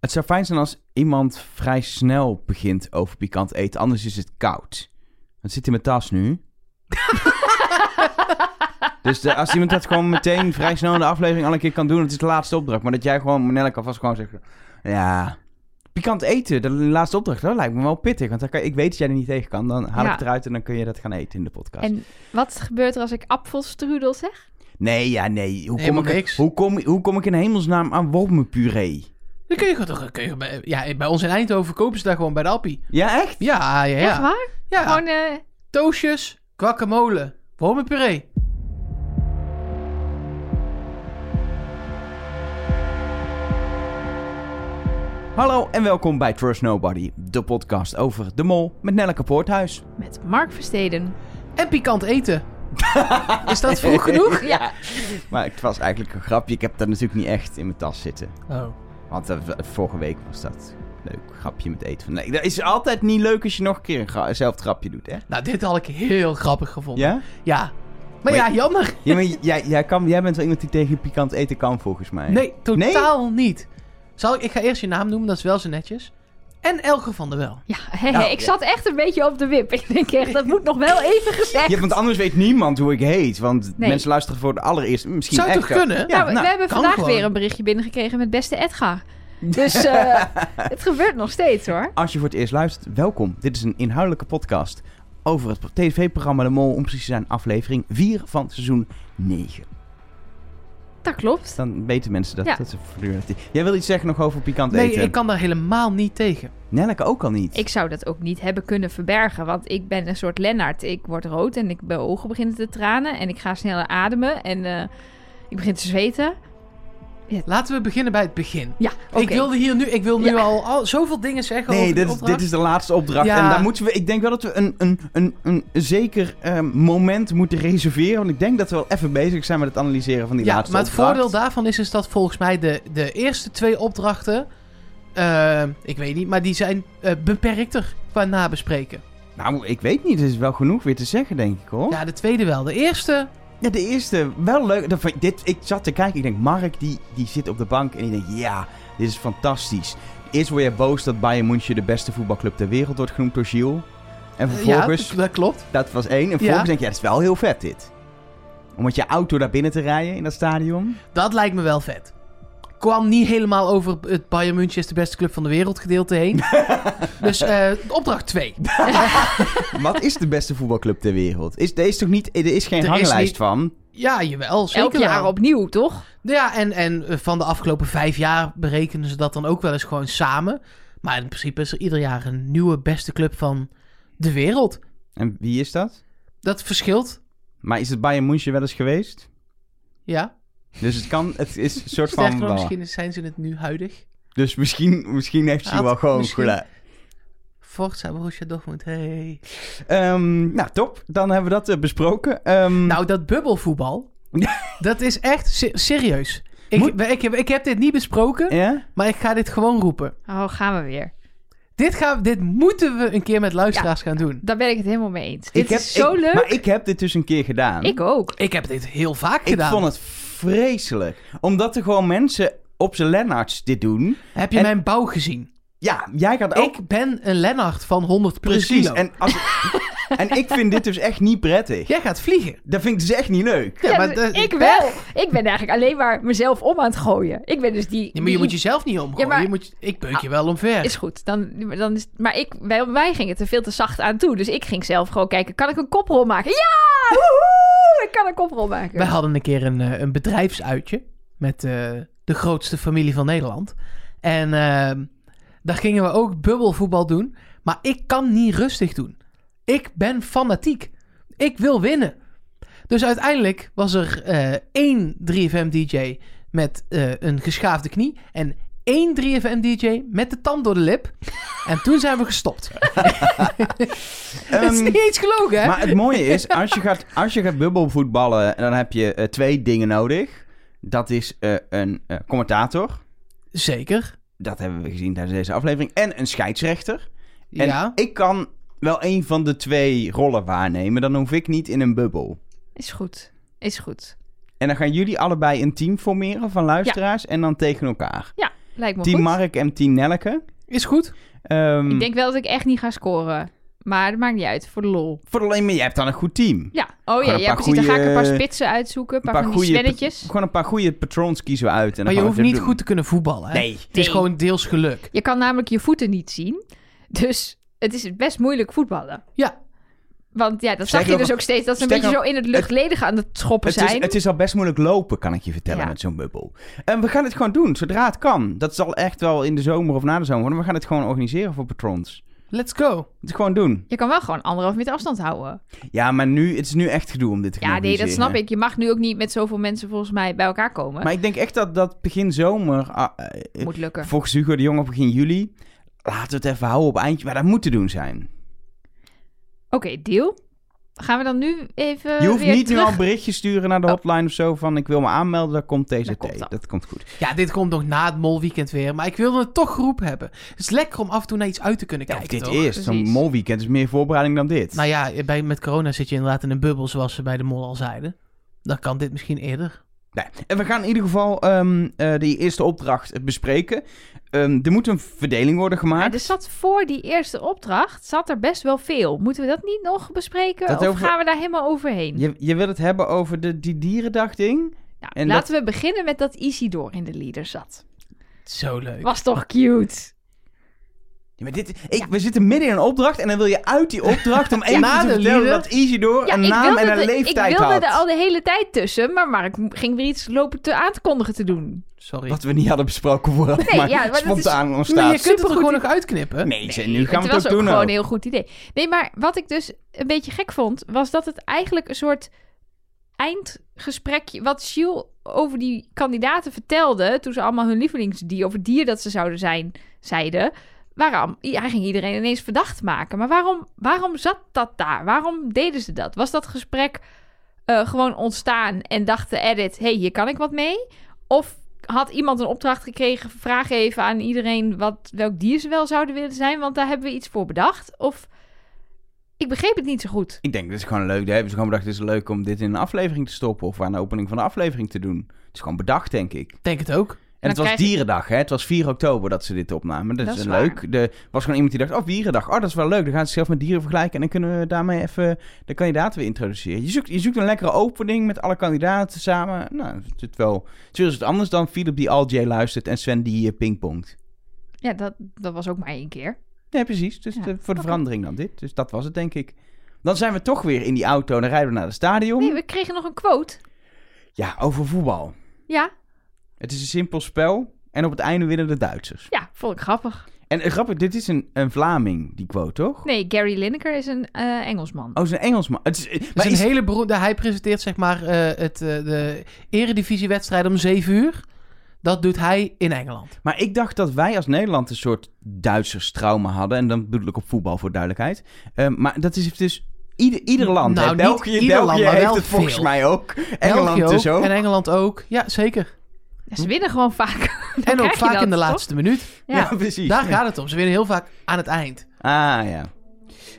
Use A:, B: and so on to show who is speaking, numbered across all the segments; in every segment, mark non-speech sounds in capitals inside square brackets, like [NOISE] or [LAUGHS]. A: Het zou fijn zijn als iemand vrij snel begint over pikant eten. Anders is het koud. Het zit in mijn tas
B: [LAUGHS]
A: nu. dus de- als iemand dat gewoon meteen vrij snel in de aflevering al een keer kan doen, het is de laatste opdracht. Maar dat jij gewoon, Nelleke, alvast gewoon zegt: Ja, pikant eten, de laatste opdracht, dat lijkt me wel pittig. Want dan kan, ik weet dat jij er niet tegen kan. Dan haal
B: Ja.
A: ik het eruit en dan kun je dat gaan eten in de podcast.
B: En wat gebeurt er als ik appelstrudel zeg?
A: Nee, ja, nee. Hoe kom,
C: Helemaal
A: ik,
C: niks.
A: Hoe, kom, hoe kom ik in hemelsnaam aan wormenpuree?
C: Dan kun je gewoon toch... Kun je, bij- ja, bij ons in Eindhoven kopen ze daar gewoon bij de Appie.
A: Ja, echt?
C: Ja, ja,
B: Echt
C: ja.
B: waar?
C: ja.
B: Gewoon, eh,
C: Toosjes, guacamole, wormenpuree.
A: Hallo en welkom bij Trust Nobody, de podcast over de mol met Nelleke Poorthuis.
B: met Mark Versteden.
C: En pikant eten. [LAUGHS] Is dat vroeg
A: [LAUGHS]
C: genoeg?
A: ja. Maar het was eigenlijk een grapje. Ik heb dat natuurlijk niet echt in mijn tas zitten.
C: Oh.
A: Want eh, v- vorige week was dat leuk grapje met eten. Nee, dat is altijd niet leuk als je nog een keer een gra- hetzelfde grapje doet, hè?
C: Nou, dit had ik heel grappig gevonden.
A: Ja?
C: Ja. Maar,
A: Maar
C: ja, jammer.
A: ja maar j- jij, jij, kan, jij bent wel iemand die tegen pikant eten kan, volgens mij.
C: Nee, totaal niet. Zal ik, ik ga eerst je naam noemen, dat is wel zo netjes. En Elke van der Wel.
B: Ja, [LAUGHS] hè,
A: Ja.
C: Nou,
B: hè, ik zat echt een beetje op de wip. Ik denk echt, dat moet nog wel even gezegd.
A: Ja, want anders weet niemand hoe ik heet. Want
B: Nee.
A: mensen luisteren voor de allereerste. Misschien
C: Zou
A: echt.
C: toch kunnen?
A: Ja,
B: nou,
A: nou,
B: we hebben
C: kan
B: vandaag
C: gewoon.
B: weer een berichtje binnengekregen met beste
C: [LAUGHS]
B: Edgar. Dus eh, het gebeurt nog steeds hoor.
A: Als je voor het eerst luistert, welkom. Dit is een inhoudelijke podcast over het tv-programma De Mol. Om precies te zijn, aflevering 4 van seizoen 9.
B: Dat klopt.
A: Dan weten mensen dat.
B: Ja.
A: dat ze voortdurend- Jij wil iets zeggen nog over pikant
C: Nee,
A: eten?
C: ik kan daar helemaal niet tegen.
A: Nelleke ook al niet.
B: Ik zou dat ook niet hebben kunnen verbergen, want ik ben een soort Lennart. Ik word rood en ik, mijn ogen beginnen te tranen en ik ga sneller ademen en eh, ik begin te zweten.
C: Laten we beginnen bij het begin.
B: Ja, oké.
C: Ik wilde hier nu, ik wil nu
B: Ja.
C: al, al zoveel dingen zeggen
A: Nee,
C: over
A: dit
C: die
A: is,
C: opdracht.
A: dit is de laatste opdracht.
C: Ja.
A: En daar moeten we. Ik denk wel dat we een, een, een, een zeker eh, moment moeten reserveren. Want ik denk dat we wel even bezig zijn met het analyseren van die
C: ja,
A: laatste
C: maar het
A: opdracht.
C: voordeel daarvan is, is dat volgens mij de, de eerste twee opdrachten, eh, ik weet niet, maar die zijn eh, beperkter qua nabespreken.
A: Nou, ik weet niet. Er is wel genoeg weer te zeggen, denk ik
B: Oh.
A: hoor.
C: Ja, de tweede wel. De eerste,
A: Ja, de eerste, wel leuk. Dat vond- dit, ik zat te kijken, ik denk, Mark die, die zit op de bank en die denkt, ja, dit is fantastisch. Eerst word je boos dat Bayern München de beste voetbalclub ter wereld wordt genoemd door Gilles. En vervolgens,
C: ja, dat klopt.
A: dat was één. En vervolgens
C: Ja.
A: denk je, ja, dat is wel heel vet dit. Om met je auto naar binnen te rijden in dat stadion.
C: Dat lijkt me wel vet. Kwam niet helemaal over het Bayern München is de beste club van de wereld gedeelte
B: [LAUGHS]
C: heen. dus eh, opdracht 2.
A: Wat is de beste voetbalclub ter wereld? Is, er is toch niet, er is geen
C: Er is
A: hanglijst
C: niet-
A: van?
C: Ja, jawel. Zeker
B: Elk jaar
C: wel.
B: opnieuw, toch?
C: Ja, en, en eh, van de afgelopen vijf jaar berekenen ze dat dan ook wel eens gewoon samen. Maar in principe is er ieder jaar een nieuwe beste club van de wereld.
A: En wie is dat?
C: Dat verschilt.
A: Maar is het Bayern München wel eens geweest?
C: Ja.
A: Dus het kan, het is een soort
C: Sterker
A: van...
C: nog, misschien zijn ze het nu huidig.
A: Dus misschien, misschien heeft hij
C: Had-
A: wel gewoon
C: misschien-
A: gelijk.
C: Forza Borussia Dortmund, hey.
A: Ehm, nou, top. Dan hebben we dat eh, besproken. Ehm,
C: Nou,
A: [LAUGHS]
C: dat bubbelvoetbal, dat is echt se- serieus. Ik,
A: Moet-
C: ik, heb, ik heb dit niet besproken,
A: ja?
C: maar ik ga dit gewoon roepen.
B: Oh, gaan we weer.
C: Dit, gaan, dit moeten we een keer met luisteraars gaan doen.
B: Daar ben ik het helemaal mee eens.
A: Ik
B: Dit
A: heb-
B: is zo
A: ik-
B: leuk.
A: Maar ik heb dit dus een keer gedaan.
B: Ik ook.
C: Ik heb dit heel vaak
A: Ik
C: gedaan.
A: vond het vreselijk. Omdat er gewoon mensen op zijn Lennarts dit doen.
C: Heb je
A: en-
C: mijn bouw gezien?
A: Ja, jij gaat ook...
C: Ik ben een Lennart van 100 per
A: precies.
C: kilo.
A: En, als, en ik vind dit dus echt niet prettig.
C: Jij gaat vliegen.
A: Dat vind ik dus echt niet leuk.
B: Ja,
C: maar
B: dus
C: dat-
B: ik wel. Ik ben eigenlijk alleen maar mezelf om aan het gooien. Ik ben dus die...
C: Nee, maar je
B: die-
C: moet jezelf niet omgooien.
B: Ja, maar-
C: je moet, ik beuk
A: Ah,
C: je wel omver.
B: Is goed. Dan, dan is, maar ik, wij, wij gingen er veel te zacht aan toe. Dus ik ging zelf gewoon kijken, kan ik een koprol maken? Ja! Woehoe! Ik kan een koprol maken.
C: Wij hadden een keer een, eh, een bedrijfsuitje met eh, de grootste familie van Nederland. En ehm, daar gingen we ook bubbelvoetbal doen. Maar ik kan niet rustig doen. Ik ben fanatiek. Ik wil winnen. Dus uiteindelijk was er eh, één 3FM-DJ met eh, een geschaafde knie. En één 3FM-DJ met de tand door de
A: [LAUGHS]
C: lip. En toen zijn we gestopt. Het is
A: Ehm,
C: niet eens gelogen, hè?
A: Maar het mooie is, als je gaat, als je gaat bubbelvoetballen, dan heb je eh, twee dingen nodig. Dat is eh, een eh, commentator.
C: Zeker.
A: Dat hebben we gezien tijdens deze aflevering. En een scheidsrechter. En
C: ja.
A: ik kan wel een van de twee rollen waarnemen. Dan hoef ik niet in een bubbel.
B: Is goed. Is goed.
A: En dan gaan jullie allebei een team formeren van luisteraars en dan tegen elkaar.
B: Ja. Lijkt me
A: Team
B: goed.
A: Mark en Team Nelleke.
C: Is goed.
A: Ehm,
B: Ik denk wel dat ik echt niet ga scoren. Maar dat maakt niet uit, voor de lol.
A: Voor alleen maar, je hebt dan een goed team.
B: Ja, oh ja,
A: een
B: ja
A: paar
B: precies. Dan ga ik een paar
A: goeie-
B: spitsen uitzoeken. Een paar,
A: paar
B: van die
A: goeie-
B: spelletjes.
A: Gewoon een paar goede patrons kiezen we uit. En dan
C: Maar je
A: gaan we
C: hoeft
A: het
C: niet
A: doen.
C: goed te kunnen voetballen. Hè?
A: Nee.
C: Het is
B: Nee.
C: gewoon deels geluk.
B: Je kan namelijk je voeten niet zien. Dus het is best moeilijk voetballen.
C: Ja.
B: Want ja, dat zag
A: Sterker
B: je dus
A: nog-
B: ook steeds. Dat ze een
A: sterker
B: beetje zo in het luchtledige aan het schoppen
A: Het is,
B: zijn.
A: het is al best moeilijk lopen, kan ik je vertellen,
B: Ja.
A: met zo'n bubbel. En we gaan het gewoon doen, zodra het kan. Dat zal echt wel in de zomer of na de zomer worden. maar We gaan het gewoon organiseren voor patrons.
C: Let's go.
A: Het gewoon doen.
B: Je kan wel gewoon anderhalf meter afstand houden.
A: Ja, maar nu, het is nu echt gedoe om dit te gaan
B: Ja, nee, dat snap
A: organiseren.
B: ik. Je mag nu ook niet met zoveel mensen volgens mij bij elkaar komen.
A: Maar ik denk echt dat dat begin zomer... ah, eh,
B: Moet lukken.
A: volgens Hugo de Jong op begin juli... Laten we het even houden op eindje, maar dat moet te doen zijn.
B: Oké, deal. Gaan we dan nu even
A: je hoeft
B: Eh, weer
A: niet nu
B: terug...
A: al een berichtje sturen naar de
B: Oh.
A: hotline of zo van ik wil me aanmelden, daar komt TZT.
B: Dat komt wel.
A: dat komt goed.
C: Ja, dit komt nog na het molweekend weer. Maar ik wilde het toch geroepen hebben. Het is lekker om af en toe naar iets uit te kunnen
A: Ja, of
C: kijken.
A: dit
C: toch?
A: eerst, zo'n
B: Precies.
A: molweekend is meer voorbereiding dan dit.
C: Nou ja, bij, met corona zit je inderdaad in een bubbel, zoals ze bij de mol al zeiden. Dan kan dit misschien eerder.
A: Nee. En we gaan in ieder geval ehm, eh, die eerste opdracht eh, bespreken. Ehm, er moet een verdeling worden
B: Ja,
A: gemaakt.
B: er zat voor die eerste opdracht zat er best wel veel. Moeten we dat niet nog bespreken?
A: Dat
B: of
A: over-
B: gaan we daar helemaal overheen?
A: Je, je wil het hebben over de, die dierendagding.
B: Nou,
A: en
B: laten we beginnen met dat Isidor in de leader zat.
C: Zo leuk.
B: Was toch cute?
A: Ja, maar dit, ik, We zitten midden in een opdracht en dan wil je uit die opdracht
B: [LAUGHS]
A: om even
C: Na
A: te
C: de
A: vertellen
C: lieden.
A: dat Isidor
B: Ja,
A: een
B: ik
A: naam
B: wilde
A: en een
B: er-
A: leeftijd
B: Ik wilde
A: had.
B: er al de hele tijd tussen, maar Mark ging weer iets lopen te aan te kondigen te doen.
C: Sorry.
A: Wat we niet hadden besproken vooraf,
B: Nee,
A: maar
B: ja, maar dat is-
A: spontaan
C: Maar
A: ontstaat.
C: je kunt het er gewoon nog uitknippen.
A: Nee, ze- nu gaan we
B: was
A: het ook doen.
B: gewoon
A: ook.
B: een heel goed idee. Nee, maar wat ik dus een beetje gek vond, was dat het eigenlijk een soort eindgesprekje, wat Gilles over die kandidaten vertelde, toen ze allemaal hun lievelingsdier of het dier dat ze zouden zijn, zeiden. Waarom? I- Hij ging iedereen ineens verdacht maken. Maar waarom, waarom zat dat daar? Waarom deden ze dat? Was dat gesprek eh, gewoon ontstaan en dacht de edit, hey, hier kan ik wat mee? Of had iemand een opdracht gekregen, vraag even aan iedereen wat, welk dier ze wel zouden willen zijn, want daar hebben we iets voor bedacht? Of ik begreep het niet zo goed.
A: Ik denk, dit is gewoon leuk. Daar hebben ze gewoon bedacht, dit is leuk om dit in een aflevering te stoppen. Of aan de opening van de aflevering te doen. Het is gewoon bedacht, denk ik.
C: Ik Denk het ook.
A: En het
B: Dan
A: was
B: krijg je-
A: Dierendag, hè? Het was 4 oktober dat ze dit opnamen. Dat,
B: Dat
A: is
B: is
A: leuk. Er was gewoon iemand die dacht, oh, Dierendag. Oh, dat is wel leuk. Dan gaan ze zelf met dieren vergelijken. En dan kunnen we daarmee even de kandidaten weer introduceren. Je zoekt, je zoekt een lekkere opening met alle kandidaten samen. Nou, het is wel... Het is het anders dan Philip die Al J luistert en Sven die eh, pingpongt.
B: Ja, dat, dat was ook maar één keer.
A: Nee, precies. Dus
B: Ja,
A: eh, voor de
B: oké.
A: verandering dan dit. Dus dat was het, denk ik. Dan zijn we toch weer in die auto. Dan rijden we naar het stadion.
B: Nee, we kregen nog een quote.
A: Ja, over voetbal.
B: Ja,
A: Het is een simpel spel. En op het einde winnen de Duitsers.
B: ja, vond ik grappig.
A: En eh, grappig, dit is een, een Vlaming, die quote, toch?
B: Nee, Gary Lineker is een eh, Engelsman.
A: Oh, ze is een Engelsman. Het is, eh,
C: Het
A: maar
C: is
A: is,
C: een hele beroemde... Hij presenteert zeg maar eh, het, eh, de eredivisiewedstrijd om 7 uur. Dat doet hij in Engeland.
A: maar ik dacht dat wij als Nederland een soort Duitsers trauma hadden. En dan bedoel ik op voetbal voor duidelijkheid. Ehm, maar dat is dus ieder, ieder land.
C: Nou,
A: hè.
C: niet
A: België,
C: ieder
A: België
C: land, maar
A: heeft
C: wel
A: het volgens
C: veel.
A: mij ook. Engeland
C: België ook,
A: dus ook.
C: En Engeland ook. Ja, zeker.
B: Ja, Dus ze winnen gewoon vaak. [LAUGHS] Dan
C: En
B: krijg
C: ook
B: je
C: vaak
B: dat,
C: in de
B: toch?
C: laatste minuut.
A: ja.
B: Ja.
A: precies.
C: Daar gaat het om. Ze winnen heel vaak aan het eind.
A: Ah, ja.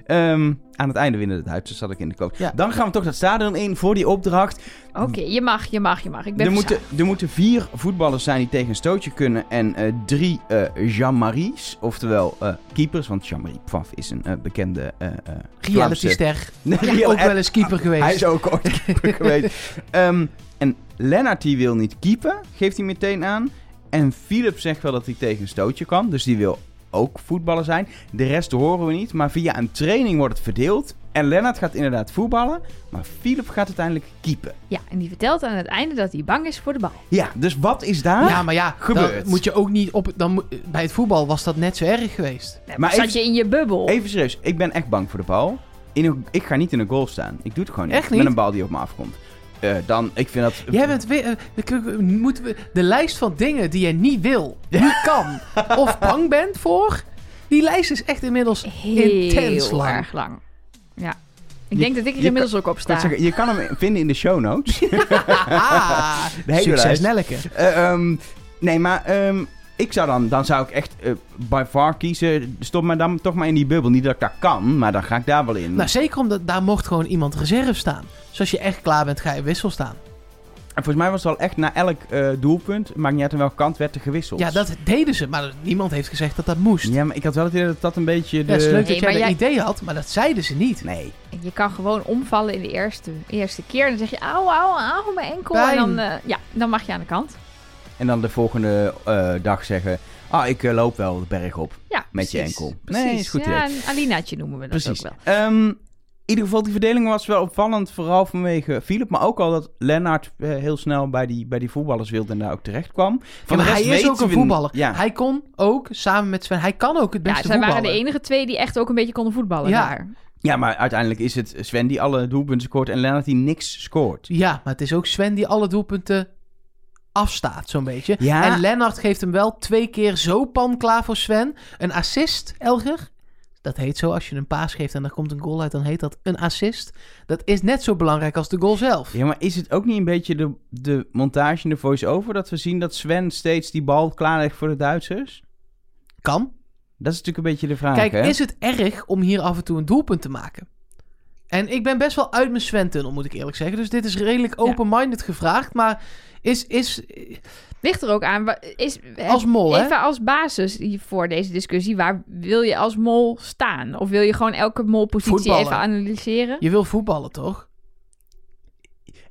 A: Ehm, aan het einde winnen de Duitsers, zat ik in de koop.
C: Ja.
A: Dan gaan we toch dat stadion in voor die opdracht.
B: Oké, je mag, je mag, je mag. Ik ben
A: Er
B: verzadigd.
A: moeten, er moeten vier voetballers zijn die tegen een stootje kunnen. En eh, drie eh Jean-Marie's, oftewel eh, keepers. Want Jean-Marie Pfaff is een eh, bekende... eh eh, Vlaamse-
C: Realityster.
A: Nee,
C: Ja,
A: heel
C: ook
A: erg.
C: wel eens keeper geweest.
A: Ah, Hij is ook
C: [LAUGHS]
A: ooit keeper geweest. Ehm, en Lennart die wil niet keepen, geeft hij meteen aan. En Philip zegt wel dat hij tegen een stootje kan, dus die wil ook voetballer zijn. De rest horen we niet, maar via een training wordt het verdeeld. En Lennart gaat inderdaad voetballen, maar Philip gaat uiteindelijk keepen.
B: Ja, en die vertelt aan het einde dat hij bang is voor de bal.
A: Ja, dus wat is daar?
C: Ja, maar ja,
A: Gebeurt.
C: dan moet je ook niet op. Dan, moet- bij het voetbal was dat net zo erg geweest.
B: Nee,
A: Maar
B: maar zat
A: even-
B: je in je bubbel?
A: Even serieus, ik ben echt bang voor de bal. In een- ik ga niet in een goal staan. Ik doe het gewoon niet.
C: Echt niet?
A: Met een bal die op me afkomt. Eh, dan, ik vind dat...
C: Jij bent weer. eh, we k- we- moeten we de lijst van dingen die je niet wil, niet kan of bang bent voor. Die lijst is echt
A: [LAUGHS]
C: inmiddels
B: Heel
C: intens lang.
B: erg lang. Ja. Ik
A: Je-
B: denk dat ik er
A: je
B: inmiddels ook op
A: Ik wou
B: sta.
A: zeggen, je kan hem vinden in de show notes.
C: Ah,
A: De hele
C: succes
A: lijst.
C: Nelleke.
A: Eh, ehm, nee, maar ehm, ik zou dan, dan zou ik echt eh, by far kiezen. Stop maar dan toch maar in die bubbel. Niet dat ik dat kan, maar dan ga ik daar wel in.
C: Nou, zeker omdat daar mocht gewoon iemand reserve staan. Dus als je echt klaar bent, ga je wissel staan.
A: En volgens mij was het al echt na elk eh, doelpunt, maakt niet uit aan welke kant, werd er gewisseld.
C: Ja, dat deden ze, maar niemand heeft gezegd dat dat moest. Ja,
A: Ja, maar ik had wel het idee dat dat een beetje de...
C: het is leuk
B: Nee,
C: dat jij
B: maar
C: dat
B: jij-
C: idee had, maar dat zeiden ze niet.
A: Nee.
B: En je kan gewoon omvallen in de eerste, eerste keer. En dan zeg je, auw, auw, auw, mijn enkel. En
C: Pijn.
B: dan, eh, ja, dan mag je aan de kant.
A: En dan de volgende eh, dag zeggen, ah, ik eh, loop wel de berg op
B: Ja,
A: met je
B: precies.
A: enkel.
C: Precies.
A: Nee, is goed idee.
B: Ja, een Alinaatje noemen we dat
A: Precies.
B: ook wel.
A: Ehm, in ieder geval, die verdeling was wel opvallend, vooral vanwege Philip. Maar ook al dat Lennart eh, heel snel bij die, bij die voetballers wilde en daar ook terecht kwam. Van de
C: Ja, maar hij
A: rest
C: is
A: weten
C: ook een
A: we-
C: voetballer.
A: Ja,
C: Hij kon ook, samen met Sven, hij kan ook het
B: Ja,
C: beste
B: zij
C: voetballen.
B: waren de enige twee die echt ook een beetje konden voetballen
C: Ja.
B: daar.
A: ja, maar uiteindelijk is het Sven die alle doelpunten scoort en Lennart die niks scoort.
C: Ja, maar het is ook Sven die alle doelpunten afstaat, zo'n beetje.
A: Ja.
C: En Lennart geeft hem wel twee keer zo pan klaar voor Sven. Een assist, Elger. Dat heet zo, als je een paas geeft en er komt een goal uit, dan heet dat een assist. Dat is net zo belangrijk als de goal zelf.
A: Ja, maar is het ook niet een beetje de, de montage en de voice-over dat we zien dat Sven steeds die bal klaarlegt voor de Duitsers?
C: Kan.
A: Dat is natuurlijk een beetje de vraag,
C: Kijk,
A: hè?
C: is het erg om hier af en toe een doelpunt te maken? En ik ben best wel uit mijn Sven-tunnel, moet ik eerlijk zeggen. Dus dit is redelijk open-minded gevraagd. Maar is, is
B: Ligt er ook aan. wa- Is, eh,
C: als mol, hè?
B: even als basis hier voor deze discussie. Waar wil je als mol staan? Of wil je gewoon elke molpositie
C: Voetballen.
B: even analyseren?
C: Je wil voetballen, toch?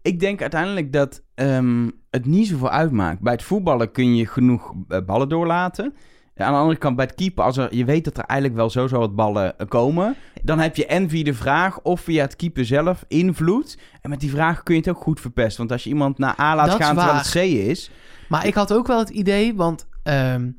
A: Ik denk uiteindelijk dat ehm, het niet zoveel uitmaakt. Bij het voetballen kun je genoeg eh, ballen doorlaten. Ja, Aan de andere kant, bij het keeper, als er, je weet dat er eigenlijk wel sowieso wat ballen eh, komen... dan heb je en via de vraag of via het keeper zelf invloed. En met die vraag kun je het ook goed verpesten. Want als je iemand naar A laat
C: Dat is
A: gaan terwijl
C: waar.
A: het C is...
C: Maar ik had ook wel het idee, want ehm,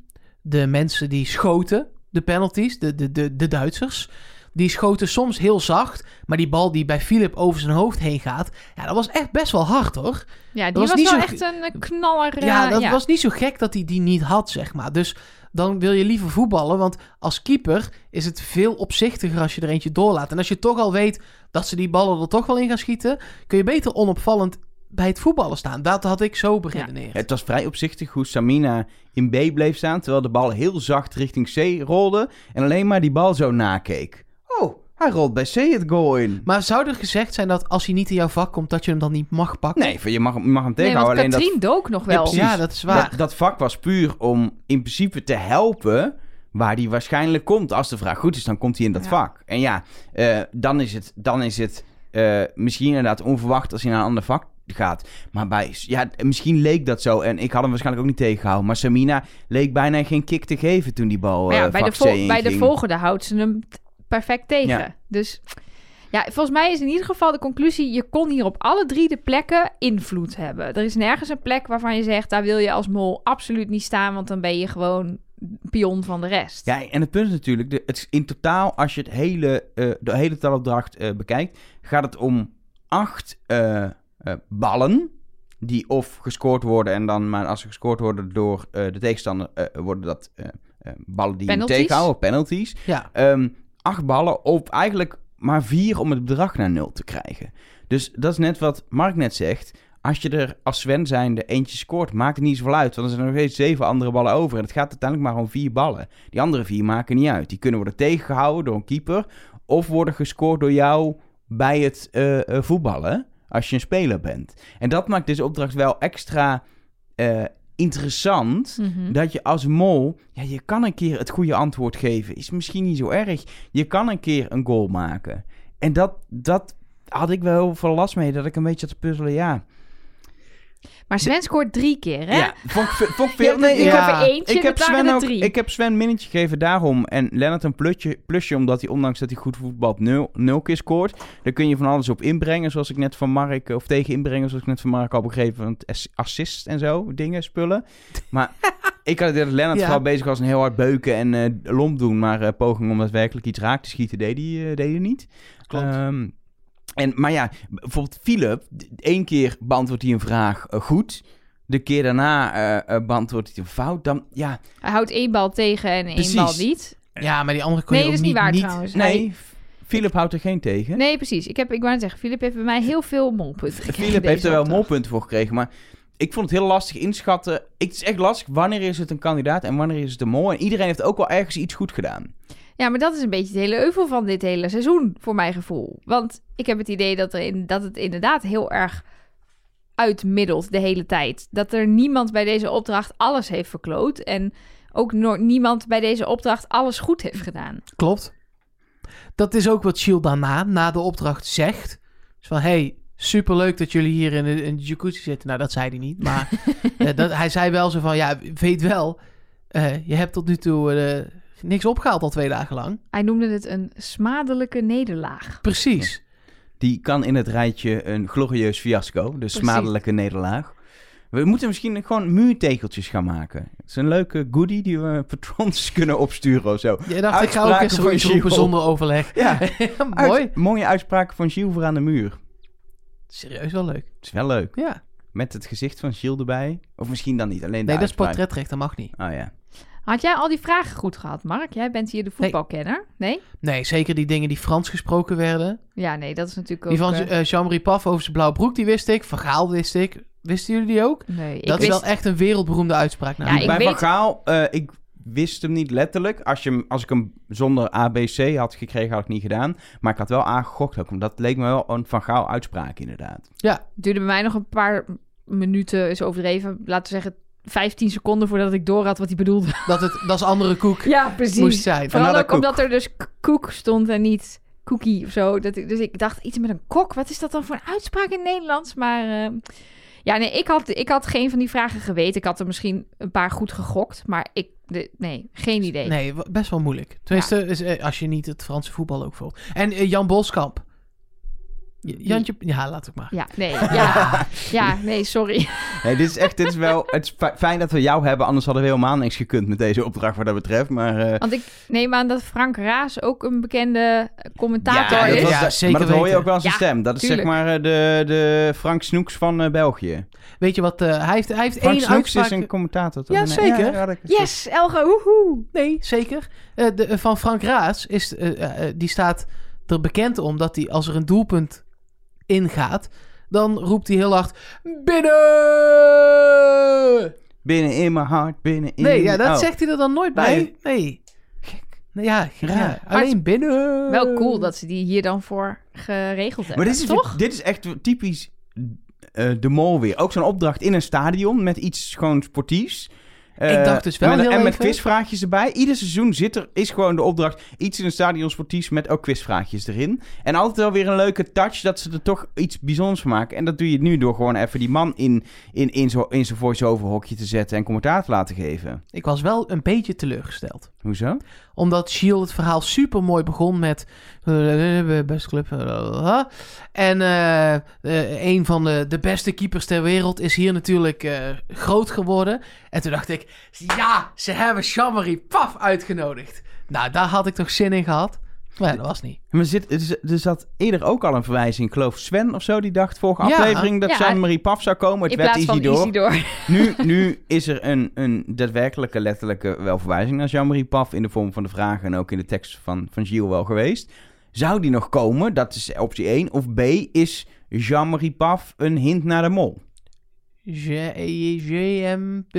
C: de mensen die schoten, de penalties, de, de, de, de Duitsers, die schoten soms heel zacht. Maar die bal die bij Philip over zijn hoofd heen gaat, ja, dat was echt best wel hard hoor.
B: Ja, die
C: Dat was
B: was,
C: niet
B: wel
C: zo-
B: echt een eh, knaller.
C: Ja,
B: eh,
C: dat was niet zo gek dat hij die niet had, zeg maar. Dus dan wil je liever voetballen, want als keeper is het veel opzichtiger als je er eentje doorlaat. En als je toch al weet dat ze die ballen er toch wel in gaan schieten, kun je beter onopvallend bij het voetballen staan. Dat had ik zo beredeneerd.
A: Ja, het was vrij opzichtig hoe Samina in B bleef staan... terwijl de bal heel zacht richting C rolde... en alleen maar die bal zo nakeek. Oh, hij rolt bij C het goal in.
C: Maar zou er gezegd zijn dat als hij niet in jouw vak komt, dat je hem dan niet mag pakken?
A: Nee, van je mag, hem- je mag hem
B: Nee, want
A: tegenhouden. alleen dat
B: Katrien dook nog wel.
A: precies.
C: Ja, dat is waar.
A: Dat, dat vak was puur om in principe te helpen waar die waarschijnlijk komt. Als de vraag goed is, dan komt hij in dat
B: Ja.
A: vak. En ja, eh, dan is het, dan is het eh, misschien inderdaad onverwacht als hij naar een ander vak gaat. Maar bij, ja, misschien leek dat zo. En ik had hem waarschijnlijk ook niet tegengehouden. Maar Samina leek bijna geen kick te geven toen die bal
B: Maar ja,
A: eh,
B: bij, de
A: vak C
B: vol- bij de
A: inging.
B: volgende houdt ze hem t- perfect tegen.
A: Ja.
B: Dus ja, volgens mij is in ieder geval de conclusie... je kon hier op alle drie de plekken invloed hebben. Er is nergens een plek waarvan je zegt... daar wil je als mol absoluut niet staan... want dan ben je gewoon pion van de rest.
A: Ja, en het punt is natuurlijk, de, het is in totaal, als je het hele, eh, de hele telopdracht eh, bekijkt, gaat het om acht eh, eh, ballen. Die of gescoord worden en dan, maar als ze gescoord worden door eh, de tegenstander, eh, worden dat eh, eh, ballen die hem
B: Penalties.
A: tegenhouden, of penalties.
C: Ja.
A: Ehm, acht ballen op eigenlijk maar vier om het bedrag naar nul te krijgen. Dus dat is net wat Mark net zegt. Als je er als Sven zijnde eentje scoort, maakt het niet zoveel uit. Want er zijn nog steeds zeven andere ballen over. En het gaat uiteindelijk maar om vier ballen. Die andere vier maken niet uit. Die kunnen worden tegengehouden door een keeper. Of worden gescoord door jou bij het eh, eh, voetballen. Als je een speler bent. En dat maakt deze opdracht wel extra eh, interessant.
B: Mhm.
A: Dat je als mol, ja, je kan een keer het goede antwoord geven. Is misschien niet zo erg. Je kan een keer een goal maken. En dat, dat had ik wel heel veel last mee. Dat ik een beetje had te puzzelen, ja.
B: Maar Sven scoort drie keer, hè?
A: Ja, vond ik, ve-
B: [LAUGHS]
A: vond ik veel... Nee,
B: ik
A: ik,
C: Ja.
A: heb,
B: heb er eentje,
A: ik, heb
B: dat waren
A: Sven
B: er
A: ook,
B: drie.
A: ik heb Sven minnetje gegeven daarom. En Lennart een plutje, plusje, omdat hij ondanks dat hij goed voetbalt nul, nul keer scoort. Daar kun je van alles op inbrengen, zoals ik net van Mark... eh, Of tegen inbrengen, zoals ik net van Mark al begrepen. Want ass- assist en zo, dingen, spullen.
B: [LAUGHS]
A: Maar ik had het idee dat Lennart
C: Ja.
A: vooral bezig was... een heel hard beuken en eh lomp doen. Maar eh poging om daadwerkelijk iets raak te schieten, deed hij, eh, deed hij niet.
C: Klopt.
A: Ehm, en, maar ja, bijvoorbeeld Philip, d- één keer beantwoordt hij een vraag eh, goed. De keer daarna eh, eh, beantwoordt hij een fout. Dan, ja,
B: Hij houdt één bal tegen en één
A: Precies.
B: bal niet.
C: Ja, maar die andere kon
B: Nee,
C: je
B: dat
C: ook
B: is niet waar
C: niet...
B: trouwens.
A: nee,
B: Dus Hij-
A: F- Philip houdt er geen tegen.
B: nee, precies. Ik, heb, ik wou net zeggen, Filip heeft bij mij heel veel molpunten gekregen.
A: Philip
B: deze
A: heeft er wel
B: opdracht.
A: molpunten voor gekregen, maar ik vond het heel lastig inschatten. Ik- Het is echt lastig, wanneer is het een kandidaat en wanneer is het een mol? En iedereen heeft ook wel ergens iets goed gedaan.
B: Ja, maar dat is een beetje het hele euvel van dit hele seizoen, voor mijn gevoel. Want ik heb het idee dat, er in, dat het inderdaad heel erg uitmiddelt de hele tijd. Dat er niemand bij deze opdracht alles heeft verkloot. En ook no- niemand bij deze opdracht alles goed heeft gedaan.
C: Klopt. Dat is ook wat Shield daarna, na de opdracht, zegt. Dus van, hey, superleuk dat jullie hier in de, in de jacuzzi zitten. Nou, dat zei hij niet,
A: [LAUGHS]
C: maar eh, dat, hij zei wel zo van, ja, weet wel, eh, je hebt tot nu toe eh, niks opgehaald al twee dagen lang.
B: Hij noemde het een smadelijke nederlaag.
C: Precies.
A: Die kan in het rijtje een glorieus fiasco, dus
B: Precies.
A: smadelijke nederlaag. We moeten misschien gewoon muurtegeltjes gaan maken. Het is een leuke goodie die we [LAUGHS] patrons kunnen opsturen of zo.
C: Je dacht, ik ga ook
A: Uitspraken
C: eens
A: van
C: zoiets roepen
A: Shield.
C: zonder overleg.
A: Ja, uit-
C: [LAUGHS] Mooi.
A: mooie uitspraken van Gilles voor aan de muur.
C: Serieus wel leuk.
A: Het is wel leuk.
C: Ja.
A: Met het gezicht van Gilles erbij. Of misschien dan niet, alleen de
C: Nee, dat is
A: uitspraak.
C: portretrecht, dat mag niet.
A: Oh ja.
B: Had jij al die vragen goed gehad, Mark? Jij bent hier de voetbalkenner. Nee?
C: Nee, zeker die dingen die Frans gesproken werden.
B: Ja, nee, dat is natuurlijk ook...
C: Die van
B: eh,
C: eh, Jean-Marie Paf over zijn blauwe broek, die wist ik. Van Gaal wist ik. Wisten jullie die ook?
B: nee, ik
C: eh, dat
B: wist...
C: is wel echt een wereldberoemde uitspraak.
B: Ja,
C: namelijk.
B: ik
A: Bij
B: weet-
A: Van Gaal, eh, ik wist hem niet letterlijk. Als, je, hem- als ik hem zonder ABC had gekregen, had ik niet gedaan. Maar ik had wel aangegokt ook, omdat het leek me wel een Van Gaal uitspraak inderdaad.
B: duurde bij mij nog een paar minuten, is overdreven. Laten we zeggen 15 seconden voordat ik door had wat hij bedoelde.
C: dat, het, dat is andere koek
B: [LAUGHS] Ja, precies.
C: moest zijn.
A: Van-
B: Vooral
A: Vanada
B: ook
A: Cook.
B: omdat er dus k- koek stond en niet cookie of zo. Dat, ik- dus ik dacht iets met een kok. Wat is dat dan voor een uitspraak in het Nederlands? Maar eh, ja, nee, ik had, ik had geen van die vragen geweten. Ik had er misschien een paar goed gegokt, maar ik, de- nee, geen idee.
C: Nee, wa- best wel moeilijk. Tenminste, is, eh, als je niet het Franse voetbal ook volgt. En eh, Jan Boskamp. J- Jantje, ja, laat ik maar.
B: Ja, nee,
A: [LAUGHS]
B: ja, ja, nee, sorry.
A: Nee, dit is echt, dit is wel, het is fi- fijn dat we jou hebben, anders hadden we helemaal niks gekund met deze opdracht wat dat betreft. Maar eh,
B: Want ik neem aan dat Frank Raas ook een bekende commentator
A: ja, dat
B: is.
A: was,
C: Ja,
A: dat-
C: zeker
A: maar dat hoor je
C: weten.
A: ook wel aan zijn
B: Ja,
A: stem. Dat is
B: tuurlijk.
A: zeg maar eh, de, de Frank Snoeks van eh, België.
C: Weet je wat? eh, hij heeft, hij heeft
A: Frank
C: één
A: Snoeks
C: uitspraak.
A: is een commentator. toch?
C: Ja,
A: Nee,
C: zeker.
A: daar had ik een soort-
B: Yes, Elge, woehoe.
C: Nee, zeker. Eh, de, eh, van Frank Raas is, eh, eh, eh, die staat er bekend om dat hij als er een doelpunt ingaat, dan roept hij heel hard binnen.
A: Binnen in mijn hart, binnen in
C: Nee, ja, dat
A: oh.
C: zegt hij er dan nooit bij. Nee,
A: Nee.
C: gek. Nee, ja, ja,
A: Maar het
C: alleen binnen.
B: Wel cool dat ze die hier dan voor geregeld hebben,
A: Maar dit is,
B: toch?
A: dit is echt typisch eh, de mol weer. Ook zo'n opdracht in een stadion met iets gewoon sportiefs. Eh,
C: Ik dacht dus wel
A: met,
C: heel
A: En met
C: even-
A: quizvraagjes erbij. Ieder seizoen zit er, is gewoon de opdracht iets in een stadion sportiefs met ook quizvraagjes erin. En altijd wel weer een leuke touch dat ze er toch iets bijzonders van maken. En dat doe je nu door gewoon even die man in, in, in zo'n in zo'n voice-over hokje te zetten en commentaar te laten geven.
C: Ik was wel een beetje teleurgesteld.
A: Hoezo?
C: Omdat Shield het verhaal super mooi begon met. eh, Beste club. eh, eh, En eh, eh, een van de, de beste keepers ter wereld is hier natuurlijk eh, groot geworden. En toen dacht ik, ja, ze hebben Shamari Paf uitgenodigd. Nou, daar had ik toch zin in gehad. Maar ja, dat was niet.
A: Maar zit, er z- er zat eerder ook al een verwijzing. Ik geloof Sven of zo, die dacht vorige
C: Ja.
A: aflevering dat
B: Ja.
A: Jean-Marie Paf zou komen. Het
B: In
A: werd
B: plaats van
A: easy door.
B: Easy Door.
A: Nu, nu is er een, een daadwerkelijke, letterlijke wel verwijzing naar Jean-Marie Paf in de vorm van de vragen en ook in de tekst van, van Gilles wel geweest. Zou die nog komen? Dat is optie 1. Of B, is Jean-Marie Paf een hint naar de mol?
C: E J-J-M-P.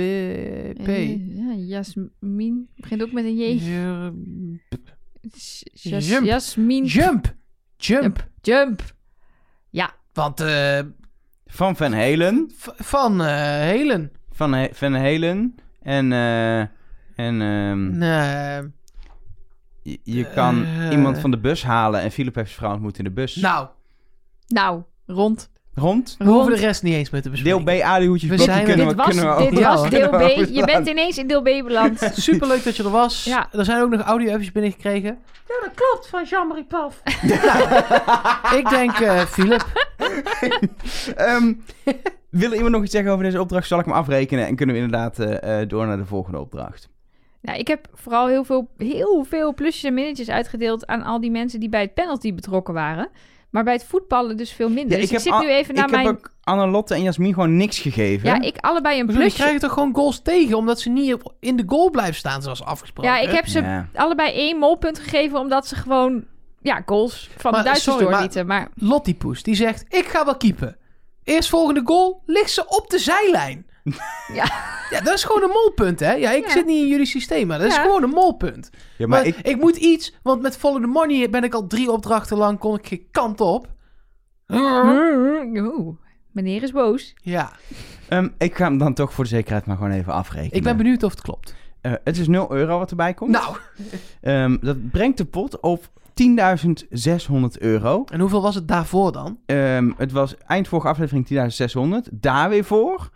B: Eh, Ja, Jasmin begint ook met een J. Jas-
C: Jump.
B: Jasmin
C: Jump! Jump!
B: Jump.
C: Want eh,
A: Van Van Helen.
C: v- van eh, Helen.
A: Van He- Van Helen. En, eh, en ehm,
C: Eh,
A: je, je kan
C: Eh.
A: iemand van de bus halen. En Philip heeft zijn vrouw ontmoet in de bus.
C: nou,
B: Nou, rond.
A: Rond.
C: we hoeven de rest niet eens meer te
A: Deel
C: bespreken.
A: B, aluhoedjes,
C: We
A: blokje
C: zijn er.
A: kunnen
B: dit
A: we,
B: was,
A: kunnen we
B: dit
A: over-
B: was
A: [LAUGHS] kunnen
B: deel
A: we
B: B.
A: overslaan.
B: Je bent ineens in deel B beland. [LAUGHS]
C: Superleuk dat je er was.
B: Ja.
C: Er zijn ook nog audio-appjes binnengekregen.
D: Ja, dat klopt, van Jean-Marie Paf.
C: [LAUGHS] Ik denk, eh Philip,
A: Ehm [LAUGHS] wil iemand nog iets zeggen over deze opdracht? Zal ik hem afrekenen en kunnen we inderdaad eh, eh, door naar de volgende opdracht?
B: Nou, ik heb vooral heel veel, heel veel plusjes en minnetjes uitgedeeld aan al die mensen die bij het penalty betrokken waren. Maar bij het voetballen dus veel minder. dus ik, zit
A: a-
B: nu even naar
A: ik
B: mijn...
A: heb ook Annelotte en Jasmin gewoon niks gegeven.
B: Ja, ik allebei een
C: jullie
B: plusje.
C: krijgen toch gewoon goals tegen... omdat ze niet op- in de goal blijven staan zoals afgesproken.
B: Ja, ik heb ze
A: Ja.
B: allebei één molpunt gegeven omdat ze gewoon ja, goals van
C: Maar,
B: de Duitsers
C: sorry, maar-
B: doorlieten. Maar,
C: Lottie Poes, die zegt, ik ga wel keepen. Eerst volgende goal ligt ze op de zijlijn.
B: Ja.
C: ja, dat is gewoon een molpunt, hè? Ja, ik
B: Ja.
C: zit niet in jullie systeem, maar dat is
B: Ja.
C: gewoon een molpunt.
A: Ja,
C: Maar,
A: maar ik,
C: ik... moet iets, want met Follow the
B: Hm?
C: Money ben ik al drie opdrachten lang, kon ik geen kant op.
B: Oeh, Meneer is boos.
C: Ja,
A: Ehm, ik ga hem dan toch voor de zekerheid maar gewoon even afrekenen.
C: ik ben benieuwd of het klopt.
A: Eh, het is 0 euro wat erbij komt.
C: Nou,
A: Ehm, dat brengt de pot op 10.600 euro.
C: en hoeveel was het daarvoor dan?
A: Ehm, het was eind vorige aflevering 10.600. Daar weer voor,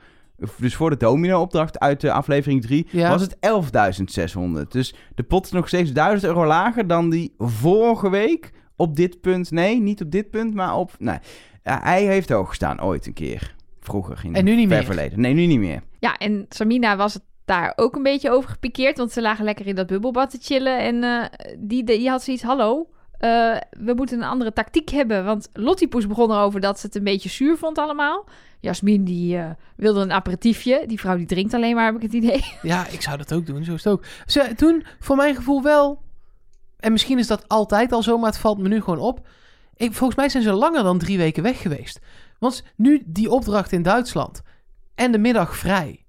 A: dus voor de domino-opdracht uit de aflevering 3,
C: Ja.
A: was het 11.600. Dus de pot is nog steeds 1000 euro lager dan die vorige week. Op dit punt, nee, niet op dit punt, maar op... Nee. Ja, hij heeft hoog gestaan ooit een keer. Vroeger. In
C: En nu niet
A: ver
C: meer.
A: verleden. Nee, nu niet meer.
B: Ja, en Samina was het daar ook een beetje over gepikeerd. Want ze lagen lekker in dat bubbelbad te chillen. En eh, die, die had zoiets, hallo, eh, we moeten een andere tactiek hebben. Want Lottipoes begon erover dat ze het een beetje zuur vond allemaal. Jasmin die eh, wilde een aperitiefje. Die vrouw die drinkt alleen maar, heb ik het idee.
C: Ja, ik zou dat ook doen, zo is het ook. Ze, toen, voor mijn gevoel wel, en misschien is dat altijd al zo, maar het valt me nu gewoon op. Ik, volgens mij zijn ze langer dan drie weken weg geweest. Want nu die opdracht in Duitsland en de middag vrij.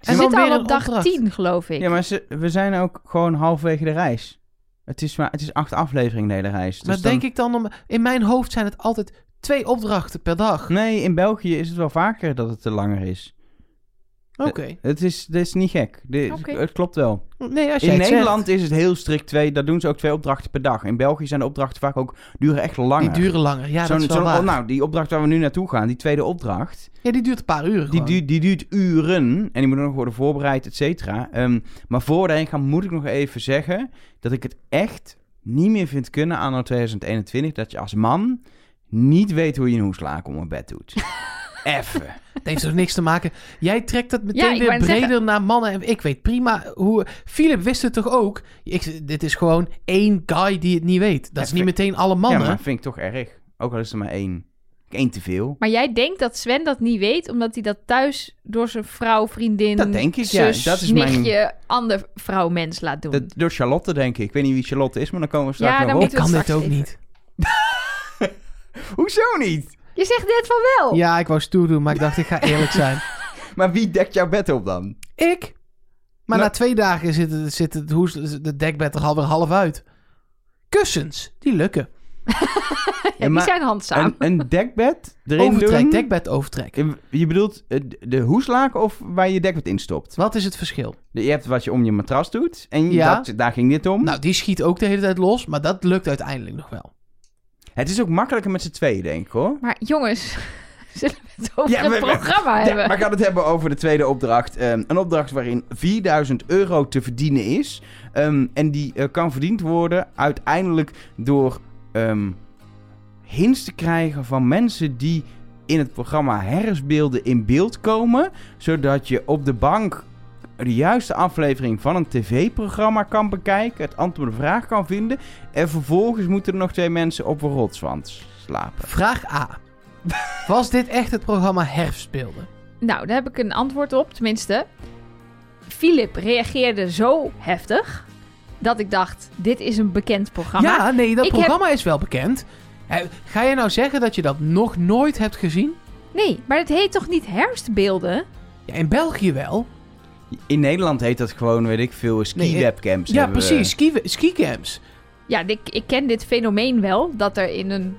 B: Ze
C: En dan
B: zit
C: weer
B: al
C: een
B: op dag
C: opdracht.
B: 10, geloof ik.
A: Ja, maar ze- we zijn ook gewoon halverwege de reis. Het is, maar, het is acht afleveringen de hele reis. Dus
C: maar
A: dan-
C: denk ik dan, om, in mijn hoofd zijn het altijd twee opdrachten per dag.
A: Nee, in België is het wel vaker dat het te langer is.
C: Oké.
A: Het is, dit is niet gek. Dit-
B: Oké.
A: Het klopt wel.
C: Nee, als jij
A: In
C: het
A: Nederland is het heel strikt twee. Daar doen ze ook twee opdrachten per dag. In België zijn de opdrachten vaak ook duren echt
C: zegt,
A: langer.
C: die duren langer. Ja,
A: Zo'n-
C: dat is wel
A: zo'n-
C: waar.
A: nou, die opdracht waar we nu naartoe gaan, die tweede opdracht,
C: ja, die duurt een paar uren
A: die,
C: gewoon.
A: duurt- die duurt uren en die moet nog worden voorbereid, et cetera. Ehm, maar voor we daarheen gaan moet ik nog even zeggen dat ik het echt niet meer vind kunnen anno 2021 dat je als man niet weet hoe je een hoeslaak om een bed
C: [LAUGHS]
A: doet. Even.
C: Het heeft toch niks te maken. Jij trekt dat meteen
B: ik wou
C: weer
B: net
C: breder naar mannen. En ik weet prima hoe. Philip wist het toch ook? Ik, dit is gewoon één guy die het niet weet. Dat is niet
A: vind-
C: meteen alle mannen.
A: Ja, maar vind ik toch erg. Ook al is er maar één. Eén te veel.
B: Maar jij denkt dat Sven dat niet weet, omdat hij dat thuis door zijn vrouw, vriendin,
A: Dat denk ik, ja.
B: zus,
A: Dat is mijn-
B: nichtje, ander vrouw, mens laat doen.
A: Dat, door Charlotte, denk ik. Ik weet niet wie Charlotte is, maar dan komen we
B: Ja,
A: straks
B: dan
A: nog
B: moet-
A: op.
C: ik kan
B: straks
C: dit ook
B: even-
C: niet.
A: Hoezo niet?
B: Je zegt net van wel. [LAUGHS]
C: Ja, ik wou stoer doen, maar ik dacht, ik ga eerlijk zijn.
A: Maar wie dekt jouw bed op
B: [LAUGHS]
A: dan?
C: ik? Maar
A: Nou-
C: na twee dagen zit het, zit het, hoes- het dekbed er alweer half uit. Kussens, die lukken.
A: Ja,
B: die
A: maar
B: zijn handzaam.
A: Een, een dekbed erin
C: Overtrek,
A: doen?
C: dekbed overtrek.
A: Je bedoelt eh, de- de hoeslaak of waar je dekbed in stopt?
C: Wat is het verschil?
A: Je hebt wat je om je matras doet. En
C: Ja.
A: dat, daar ging dit om.
C: Nou, die schiet ook de hele tijd los, maar dat lukt uiteindelijk nog wel.
A: Het is ook makkelijker met z'n tweeën, denk ik hoor.
B: Maar jongens, [LAUGHS] zullen we het over
A: Ja,
B: het
A: we- we-
B: programma
A: Ja,
B: hebben?
A: maar ik had het hebben over de tweede opdracht. Ehm, een opdracht waarin 4000 euro te verdienen is. Ehm, en die eh, kan verdiend worden uiteindelijk door ehm, hints te krijgen van mensen die in het programma Herfstbeelden in beeld komen. Zodat je op de bank de juiste aflevering van een tv-programma kan bekijken. Het antwoord op de vraag kan vinden. En vervolgens moeten er nog twee mensen op een rotswand slapen.
C: Vraag A. Was dit echt het programma Herfstbeelden?
B: Nou, daar heb ik een antwoord op, tenminste. Philip reageerde zo heftig dat ik dacht, dit is een bekend programma.
C: Ja, nee, dat
B: Ik
C: programma is wel bekend. Hè, Ga je nou zeggen dat je dat nog nooit hebt gezien?
B: Nee, maar het heet toch niet herfstbeelden?
C: Ja, in België wel.
A: In Nederland heet dat gewoon, weet ik veel,
C: Nee, eh,
A: ski-webcams.
C: Ja,
A: hebben eh, we.
C: precies. Ski, skicamps.
B: Oh Ja, ik, ik ken dit fenomeen wel, dat er in een,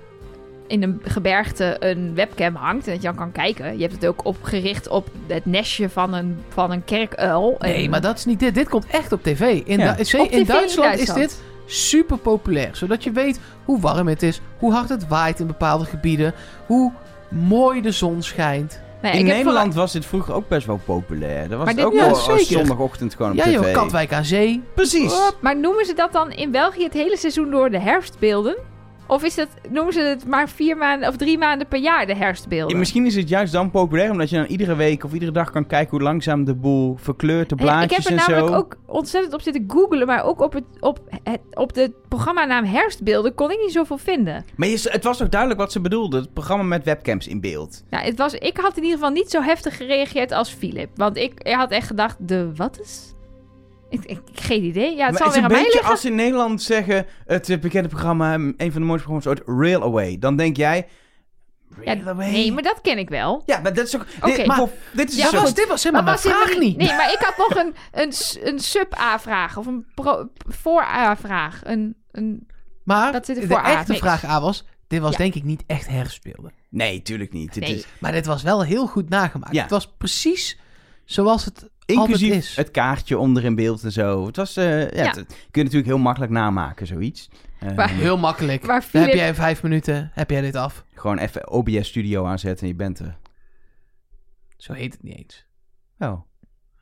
B: in een gebergte een webcam hangt en dat je dan kan kijken. Je hebt het ook opgericht op het nestje van een, van een kerkuil.
C: Nee,
B: En-
C: maar dat is niet dit. Dit komt echt op tv. In,
A: Ja.
C: Du- zee-
B: Op tv
C: in, Duitsland
B: Duitsland.
C: is dit super populair. Zodat je weet hoe warm het is, hoe hard het waait in bepaalde gebieden, hoe mooi de zon schijnt.
B: Nee,
A: In
B: Nou ik heb vooral-
A: Nederland was dit vroeger ook best wel populair. Dat was
B: Maar
A: het
B: dit-
A: ook
C: ja,
A: wel als
C: zeker.
A: zondagochtend gewoon op
C: Ja
A: tv.
C: joh, Katwijk aan zee.
A: Precies.
B: Oh, Maar noemen ze dat dan in België het hele seizoen door de herfstbeelden? Of is dat, noemen ze het maar vier maanden of drie maanden per jaar de herfstbeelden?
A: Misschien is het juist dan populair, omdat je dan iedere week of iedere dag kan kijken hoe langzaam de boel verkleurt, de
B: Hey, ik
A: blaadjes
B: heb
A: en
B: er
A: zo.
B: namelijk ook ontzettend op zitten googelen, maar ook op, het, op, het, op de programmanaam herfstbeelden kon ik niet zoveel vinden.
A: Maar je- het was toch duidelijk wat ze bedoelden, het programma met webcams in beeld.
B: Nou, het was, ik had in ieder geval niet zo heftig gereageerd als Philip, want ik had echt gedacht, de wat is? Ik, ik, ik- geen idee. Ja, het
A: Maar
B: zal
A: het is
B: weer
A: een
B: aan mij
A: beetje
B: liggen.
A: als ze in Nederland zeggen, het eh, bekende programma, een van de mooiste programma's ooit, Rail Away. Dan denk jij,
B: Ja,
A: Rail Away?
B: nee, maar dat ken ik wel.
A: Ja, maar dat is ook...
B: Oké.
A: Dit, maar, dit is
C: Ja,
A: een soort-
C: was, Dus dit was helemaal mijn
B: was helemaal
C: vraag niet.
B: Nee, maar ik had nog een, een, s- een sub-A-vraag of een pro- voor-A-vraag. Een, een...
C: Maar
B: Dat zit er
C: de
B: voor A,
C: echte
B: niks.
C: vraag A was, Dit was
B: Ja.
C: denk ik niet echt herspeelden.
A: Nee, tuurlijk niet. Het
B: Nee.
A: is,
C: Maar dit was wel heel goed nagemaakt.
A: Ja.
C: Het was precies zoals het
A: inclusief
C: altijd is.
A: het kaartje onder in beeld en zo. Het was, eh, ja,
B: Ja.
A: het- kun je natuurlijk heel makkelijk namaken,
C: [LAUGHS]
A: zoiets. Eh,
B: Maar-
C: Heel makkelijk.
B: Waar
C: Dan heb
B: Philip-
C: jij in vijf minuten heb jij dit af.
A: Gewoon even OBS Studio aanzetten en je bent er.
C: Zo heet het niet eens.
A: Oh,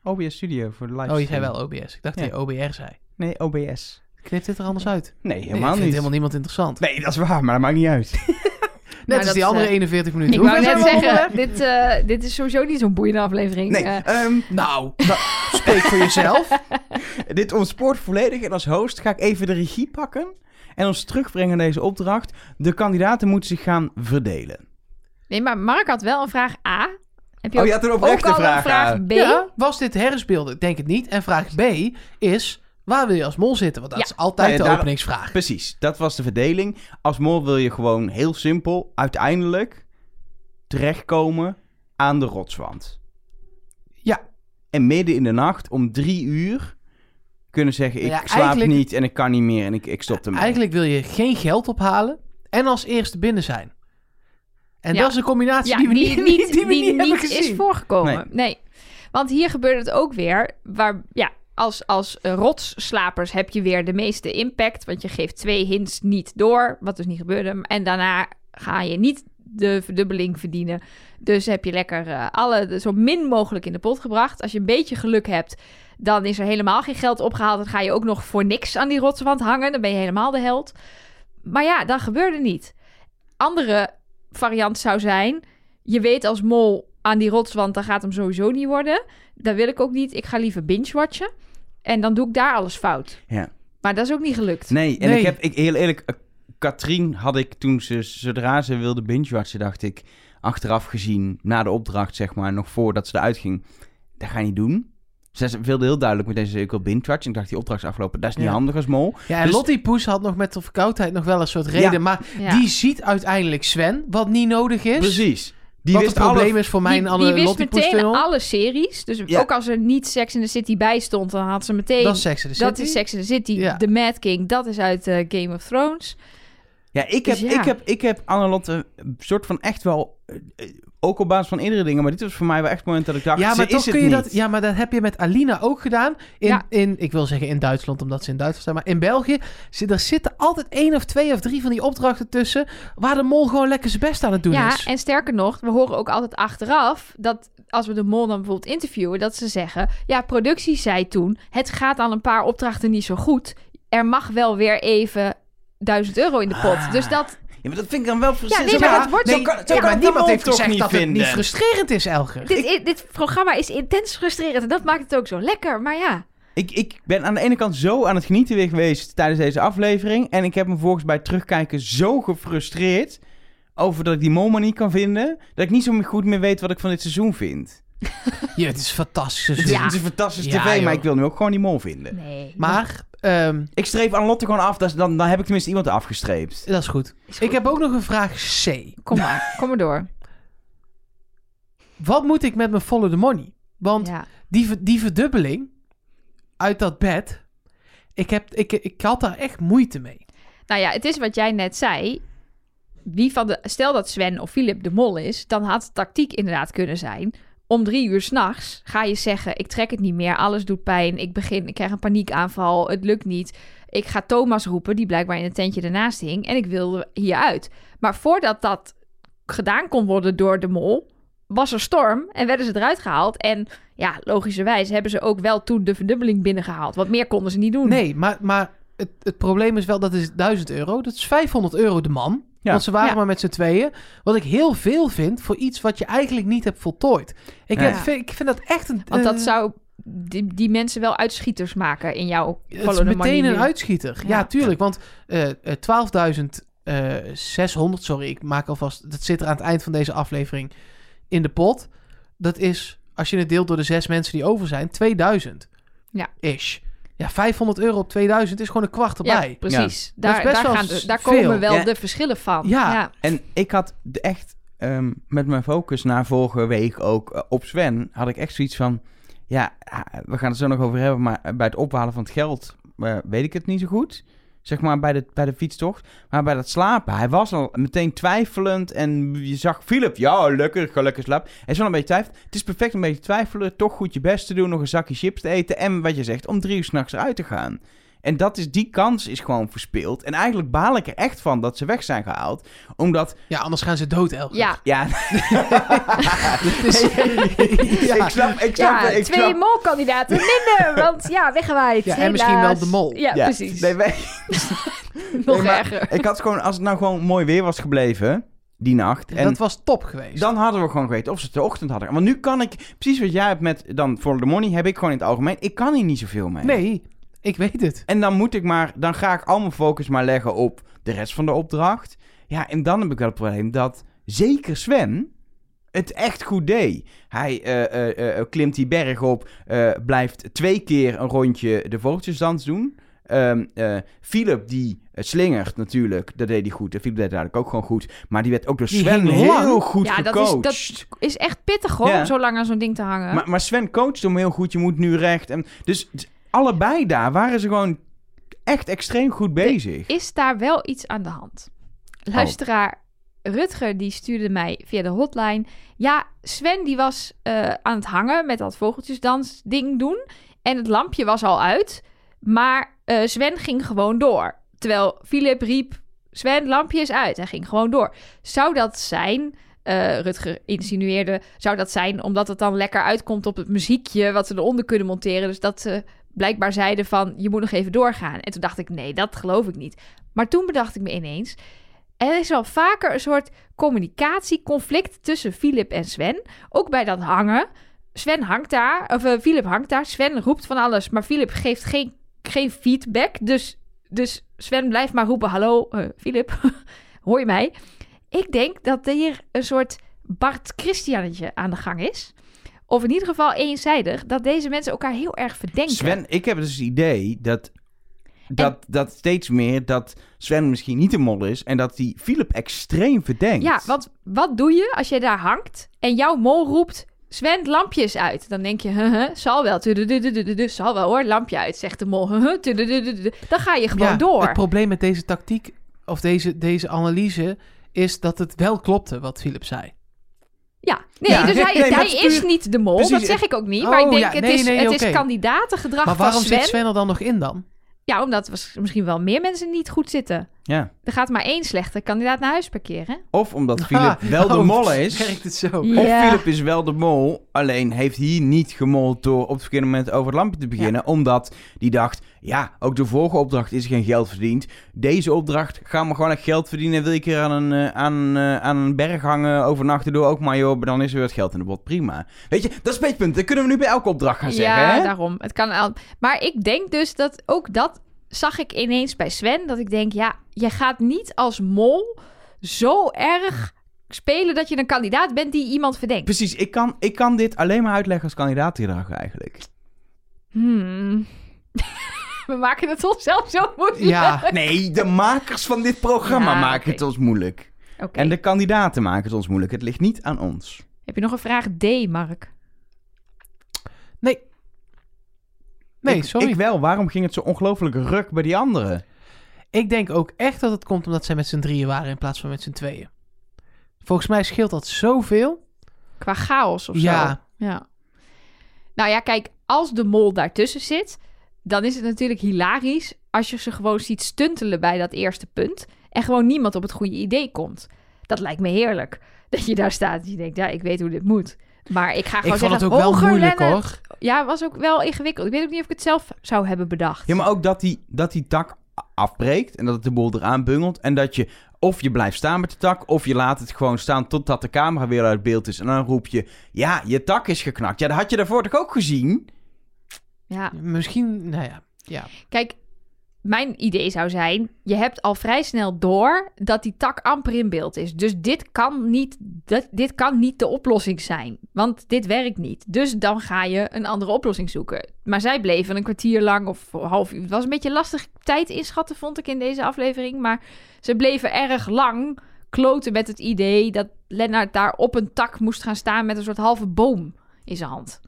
A: OBS Studio voor de live.
C: Oh, je zei wel OBS. Ik dacht dat je OBR zei.
A: Nee, OBS.
C: Knip dit er anders uit.
A: Nee,
C: Nee, ik
A: helemaal
C: vind
A: niet.
C: helemaal niemand interessant.
A: Nee, dat is waar, maar dat maakt niet
C: [LAUGHS]
A: uit.
C: Net
B: Maar
C: als
B: dat,
C: die andere
B: eh,
C: 41 minuten.
B: Ik
C: Hoe
B: wou
C: ver
B: net
C: zijn we
B: zeggen, dit, eh, dit is sowieso niet zo'n boeiende aflevering.
A: Nee,
B: Eh,
A: ehm,
C: al?
A: [LAUGHS]
C: Nou, spreek voor jezelf.
A: dit ontspoort volledig en als host ga ik even de regie pakken en ons terugbrengen naar deze opdracht. De kandidaten moeten zich gaan verdelen.
B: nee, maar Mark had wel een vraag A. Heb je
A: Oh,
B: ook,
A: je had een
B: ook al
A: oprechte
B: een
A: vraag.
B: vraag
A: aan.
B: B?
C: Ja, was dit herfstbeelden? Ik denk het niet. En vraag B is, waar wil je als mol zitten? Want dat
B: Ja.
C: is altijd
A: Nou ja,
C: de
A: daar-
C: openingsvraag.
A: Precies, dat was de verdeling. Als mol wil je gewoon heel simpel uiteindelijk terechtkomen aan de rotswand.
C: Ja.
A: En midden in de nacht om drie uur kunnen zeggen: ik
C: Ja,
A: slaap
C: eigenlijk-
A: niet en ik kan niet meer en ik, ik stop ermee.
C: Eigenlijk wil je geen geld ophalen en als eerste binnen zijn. En
B: Ja.
C: dat is een combinatie
B: Ja,
C: die we niet, [LAUGHS] die, we niet hebben
B: niet
C: gezien.
B: is voorgekomen. Nee. Want hier gebeurt het ook weer. Waar, ja, als, als eh, rotsslapers heb je weer de meeste impact. Want je geeft twee hints niet door. Wat dus niet gebeurde. En daarna ga je niet de verdubbeling verdienen. Dus heb je lekker eh, alle de- zo min mogelijk in de pot gebracht. Als je een beetje geluk hebt, dan is er helemaal geen geld opgehaald. Dan ga je ook nog voor niks aan die rotswand hangen. Dan ben je helemaal de held. Maar ja, dat gebeurde niet. Andere variant zou zijn: je weet als mol aan die rotswand, dan gaat hem sowieso niet worden. Dat wil ik ook niet. Ik ga liever binge-watchen. En dan doe ik daar alles fout.
A: Ja.
B: Maar dat is ook niet gelukt.
A: Nee, en
C: Nee.
A: ik heb, ik, heel eerlijk, eh, Katrien had ik toen ze, zodra ze wilde binge-watchen, dacht ik, achteraf gezien, na de opdracht, zeg maar, nog voordat ze eruit ging, dat ga je niet doen. Ze wilde heel duidelijk meteen zeggen, ik wil binge-watchen. Ik dacht, die opdracht is afgelopen, dat is niet
C: Ja.
A: handig als mol.
C: Ja, en
A: Dus-
C: Lottie Poes had nog met de verkoudheid nog wel een soort reden.
A: Ja.
C: Maar
B: Ja.
C: die ziet uiteindelijk Sven, wat niet nodig is.
A: Precies. Die
C: wat
A: wist
C: het probleem
A: alle...
C: is voor mijn
B: die, die wist
C: Lottie Poes
B: meteen
C: tunnel.
B: alle series. Dus
A: Ja.
B: ook als er niet Sex in the City bij stond, dan had ze meteen...
C: Dat is Sex and the
B: dat
C: City.
B: is Sex in the City.
C: Ja.
B: The Mad King, dat is uit eh, Game of Thrones.
A: Ja, ik heb,
B: Dus ja.
A: Ik heb, ik heb Annelotte een soort van echt wel, eh, eh, ook op basis van eerdere dingen, maar dit was voor mij wel echt het moment dat ik dacht,
C: ja,
A: ze
C: maar
A: is
C: toch
A: het
C: kun je
A: niet.
C: dat. Ja, maar dat heb je met Alina ook gedaan. In,
B: Ja.
C: in, ik wil zeggen in Duitsland, omdat ze in Duitsland zijn. Maar in België. Ze, er zitten altijd één of twee of drie van die opdrachten tussen. Waar de mol gewoon lekker zijn best aan het doen
B: ja,
C: is.
B: en sterker nog, we horen ook altijd achteraf dat als we de mol dan bijvoorbeeld interviewen, dat ze zeggen: ja, productie zei toen, het gaat aan een paar opdrachten niet zo goed. Er mag wel weer even 1000 euro in de pot.
A: Ah.
B: Dus dat,
A: Ja, maar dat vind ik dan wel precies.
B: Ja, nee, maar dat wordt-
A: zo
C: nee,
A: kan, zo
C: ja,
A: kan
C: maar
A: het
C: niemand
A: niemand
C: heeft
A: toch
C: gezegd
A: niet
C: dat
A: vinden.
C: het niet frustrerend is, Elger.
B: dit, i- dit programma is intens frustrerend en dat maakt het ook zo lekker. Maar ja,
A: Ik, ik ben aan de ene kant zo aan het genieten weer geweest tijdens deze aflevering. En ik heb me volgens bij het terugkijken zo gefrustreerd over dat ik die MoMA niet kan vinden. Dat ik niet zo goed meer weet wat ik van dit seizoen vind.
C: Ja, het is fantastisch.
A: Het is,
B: Ja.
A: het is een fantastisch
C: Ja,
A: tv,
C: joh.
A: maar ik wil nu ook gewoon die mol vinden.
B: nee.
C: Eh, Maar ehm,
A: Ik streep aan Lotte gewoon af, dat is- dan, dan heb ik tenminste iemand afgestreept.
C: dat is goed. Ik heb ook nog een vraag C.
B: Kom maar, kom maar door.
C: Wat moet ik met mijn follow the money? Want
B: Ja.
C: die, ver- die verdubbeling uit dat bed. Ik, heb, ik, ik had daar echt moeite mee.
B: Nou ja, het is wat jij net zei. Wie van de, stel dat Sven of Philip de mol is, dan had de tactiek inderdaad kunnen zijn. Om drie uur s'nachts ga je zeggen: Ik trek het niet meer, alles doet pijn. Ik begin, ik krijg een paniekaanval, het lukt niet. Ik ga Thomas roepen, die blijkbaar in het tentje ernaast hing. En ik wil hieruit. Maar voordat dat gedaan kon worden door de mol, was er storm en werden ze eruit gehaald. En ja, logischerwijs hebben ze ook wel toen de verdubbeling binnengehaald. Want meer konden ze niet doen.
C: Nee, maar, maar het, het probleem is wel dat is 1000 euro. Dat is 500 euro de man.
A: Ja.
C: Want ze waren
B: Ja.
C: maar met z'n tweeën. Wat ik heel veel vind voor iets wat je eigenlijk niet hebt voltooid. Ik,
A: Ja.
C: heb- vind, ik vind dat echt een.
B: Want dat
C: eh,
B: zou die, die mensen wel uitschieters maken in jouw
C: het is
B: follow the money
C: meteen een
B: nu.
C: uitschieter. Ja,
B: Ja.
C: tuurlijk. Want eh, eh, 12.600, sorry, ik maak alvast. Dat zit er aan het eind van deze aflevering in de pot. Dat is, als je het deelt door de zes mensen die over zijn, 2000.
B: Ja.
C: Ish. Ja, 500 euro op 2000 is gewoon een kwart erbij.
B: Ja, precies.
C: Dat
B: Daar,
C: is best
B: daar,
C: wel
B: gaan,
C: s-
B: de- daar
C: veel.
B: komen wel
A: Ja.
B: de verschillen van.
C: Ja.
A: En ik had de- echt ehm, met mijn focus na vorige week ook eh, op Sven, had ik echt zoiets van, ja, ah, we gaan het zo nog over hebben, maar eh, bij het ophalen van het geld eh, weet ik het niet zo goed. Zeg maar bij de, bij de fietstocht. Maar bij dat slapen, hij was al meteen twijfelend. En je zag Philip, ja, lekker, ga lekker slapen. Hij is wel een beetje twijfelend. Het is perfect om een beetje te twijfelen. Toch goed je best te doen. Nog een zakje chips te eten. En wat je zegt, om drie uur s'nachts eruit te gaan. En dat is, die kans is gewoon verspeeld. En eigenlijk baal ik er echt van dat ze weg zijn gehaald. Omdat,
C: Ja, anders gaan ze dood, Elger.
B: Ja, [LAUGHS]
A: ja,
C: Dus- ja.
A: ik snap, ik snap,
B: ja
A: ik
B: twee
A: snap.
B: molkandidaten minder,
A: [LAUGHS]
B: want ja, weggewaaid.
C: Ja, en misschien
B: helaas.
C: wel de mol.
B: Ja,
A: Ja.
B: precies.
A: Nee, wij-
B: Nog
A: nee, maar-
B: erger.
A: [LAUGHS] Ik had gewoon, als het nou gewoon mooi weer was gebleven, die nacht. En
C: dat was top geweest.
A: dan hadden we gewoon geweten of ze het de ochtend hadden. Want nu kan ik, precies wat jij hebt met dan For the Money, heb ik gewoon in het algemeen. Ik kan hier niet zoveel mee.
C: Nee, ik weet het.
A: En dan moet ik maar, dan ga ik al mijn focus maar leggen op de rest van de opdracht. Ja, en dan heb ik wel het probleem dat zeker Sven het echt goed deed. Hij eh, eh, eh, klimt die berg op, eh, blijft twee keer een rondje de vogeltjesdans doen. Ehm, eh, Philip die eh, slingert natuurlijk, dat deed hij goed. En Philip deed het eigenlijk ook gewoon goed. Maar die werd ook door
C: Die
A: Sven
C: ging
A: heel
C: lang.
A: goed
B: Ja, dat is-
A: gecoacht.
B: dat- Is echt pittig hoor,
A: Ja.
B: om zo lang aan zo'n ding te hangen.
A: Maar, maar Sven coacht hem heel goed. Je moet nu recht. En, dus t- allebei daar waren ze gewoon echt extreem goed bezig.
B: Is daar wel iets aan de hand? Luisteraar Rutger die stuurde mij via de hotline. Ja, Sven die was eh, aan het hangen met dat vogeltjesdans ding doen. En het lampje was al uit. Maar eh, Sven ging gewoon door. Terwijl Filip riep, Sven, lampje is uit. Hij ging gewoon door. Zou dat zijn, eh, Rutger insinueerde, zou dat zijn omdat het dan lekker uitkomt op het muziekje wat ze eronder kunnen monteren. Dus dat ze blijkbaar zeiden van, je moet nog even doorgaan. En toen dacht ik, nee, dat geloof ik niet. Maar toen bedacht ik me ineens, er is wel vaker een soort communicatieconflict tussen Filip en Sven. Ook bij dat hangen. Sven hangt daar, of eh, Filip hangt daar. Sven roept van alles, maar Filip geeft geen, geen feedback. Dus, dus Sven blijft maar roepen, hallo eh, Filip, [LAUGHS] hoor je mij? Ik denk dat hier een soort Bart Christianetje aan de gang is. Of in ieder geval eenzijdig, dat deze mensen elkaar heel erg verdenken.
A: Sven, ik heb dus het idee dat, dat, dat steeds meer dat Sven misschien niet de mol is. En dat die Philip extreem verdenkt.
B: Ja, want wat doe je als je daar hangt en jouw mol roept... Sven, het lampje is uit. Dan denk je, huh, huh, zal wel, tudududududu, zal wel hoor, lampje uit, zegt de mol. huh, huh, tudududududu. Dan ga je gewoon
C: Ja, Het
B: door.
C: probleem met deze tactiek, of deze, deze analyse, is dat het wel klopte wat Philip zei.
B: Ja, nee,
A: Ja,
B: dus
A: nee,
B: hij,
A: nee, maar
B: hij
A: het is
B: is
A: puur-
B: niet de mol,
A: Precies,
B: dat zeg
A: het-
B: ik ook niet. maar ik
C: Oh,
B: denk,
C: ja,
B: het,
C: nee,
B: is,
C: nee,
B: het
C: oké.
B: is kandidatengedrag
C: Maar waarom
B: van Sven.
C: zit Sven er dan nog in dan?
B: Ja, omdat was- misschien wel meer mensen niet goed zitten.
A: Ja.
B: Er gaat maar één slechte kandidaat naar huis parkeren.
A: Of
B: [LAUGHS]
A: omdat Philip [LAUGHS] wel de
C: Oh,
A: mol is.
C: Werkt het zo?
A: Of
B: Ja.
A: Philip is wel de mol, alleen heeft hier niet gemold door op het verkeerde moment over het lampje te beginnen. Omdat die dacht, ja, ook de vorige opdracht is geen geld verdiend. Deze opdracht, ga maar gewoon echt geld verdienen. Wil ik hier aan een, eh, aan, eh, aan een berg hangen, overnachten, doe ook maar joh. maar Dan is er weer het geld in de bot, prima. Weet je, dat is het punt. Dat kunnen we nu bij elke opdracht gaan zeggen,
B: ja,
A: hè?
B: daarom. Het kan al... Maar ik denk dus dat ook dat zag ik ineens bij Sven. Dat ik denk, ja, je gaat niet als mol zo erg spelen dat je een kandidaat bent die iemand verdenkt.
A: Precies, ik kan, ik kan dit alleen maar uitleggen als kandidaatgedrag
B: [LAUGHS]
A: eigenlijk.
B: Hmm. [LAUGHS] We maken het onszelf zo moeilijk.
C: [LAUGHS] Ja,
A: Nee, de makers van dit programma
B: Ja,
A: maken
B: oké.
A: het ons moeilijk.
B: Oké.
A: En de kandidaten maken het ons moeilijk. Het ligt niet aan ons.
B: Heb je nog een vraag D, Mark?
C: nee,
A: ik,
C: sorry.
A: Ik
C: Ik,
A: wel. Waarom ging het zo ongelooflijk ruk bij die anderen?
C: denk ook echt dat het komt omdat zij met z'n drieën waren in plaats van met z'n tweeën. Volgens mij scheelt dat zoveel.
B: Qua chaos of zo.
C: Ja,
B: Ja. Nou ja, kijk, als de mol daartussen zit, dan is het natuurlijk hilarisch als je ze gewoon ziet stuntelen bij dat eerste punt en gewoon niemand op het goede idee komt. Dat lijkt me heerlijk. [LAUGHS] Dat je daar staat en je denkt, ja, ik weet hoe dit moet. Maar ik ga
C: ik
B: gewoon
C: vond
B: zeggen,
C: het ook wel
B: "Hoger
C: moeilijk
B: rennen."
C: hoor.
B: Ja, was ook wel ingewikkeld. Ik weet ook niet of ik het zelf zou hebben bedacht.
A: Ja, maar ook dat die, dat die tak a- afbreekt en dat het de boel eraan bungelt. En dat je of je blijft staan met de tak, of je laat het gewoon staan totdat de camera weer uit beeld is. En dan roep je, ja, je tak is geknakt. Ja, dat had je daarvoor toch ook gezien?
B: Ja.
C: Misschien, nou ja.
B: Kijk, mijn idee zou zijn: je hebt al vrij snel door dat die tak amper in beeld is. Dus dit kan niet, dat, dit kan niet de oplossing zijn. Want dit werkt niet. Dus dan ga je een andere oplossing zoeken. Maar zij bleven een kwartier lang of een half uur. Het was een beetje lastig tijd inschatten, vond ik in deze aflevering. Maar ze bleven erg lang kloten met het idee dat Lennart daar op een tak moest gaan staan met een soort halve boom in zijn hand.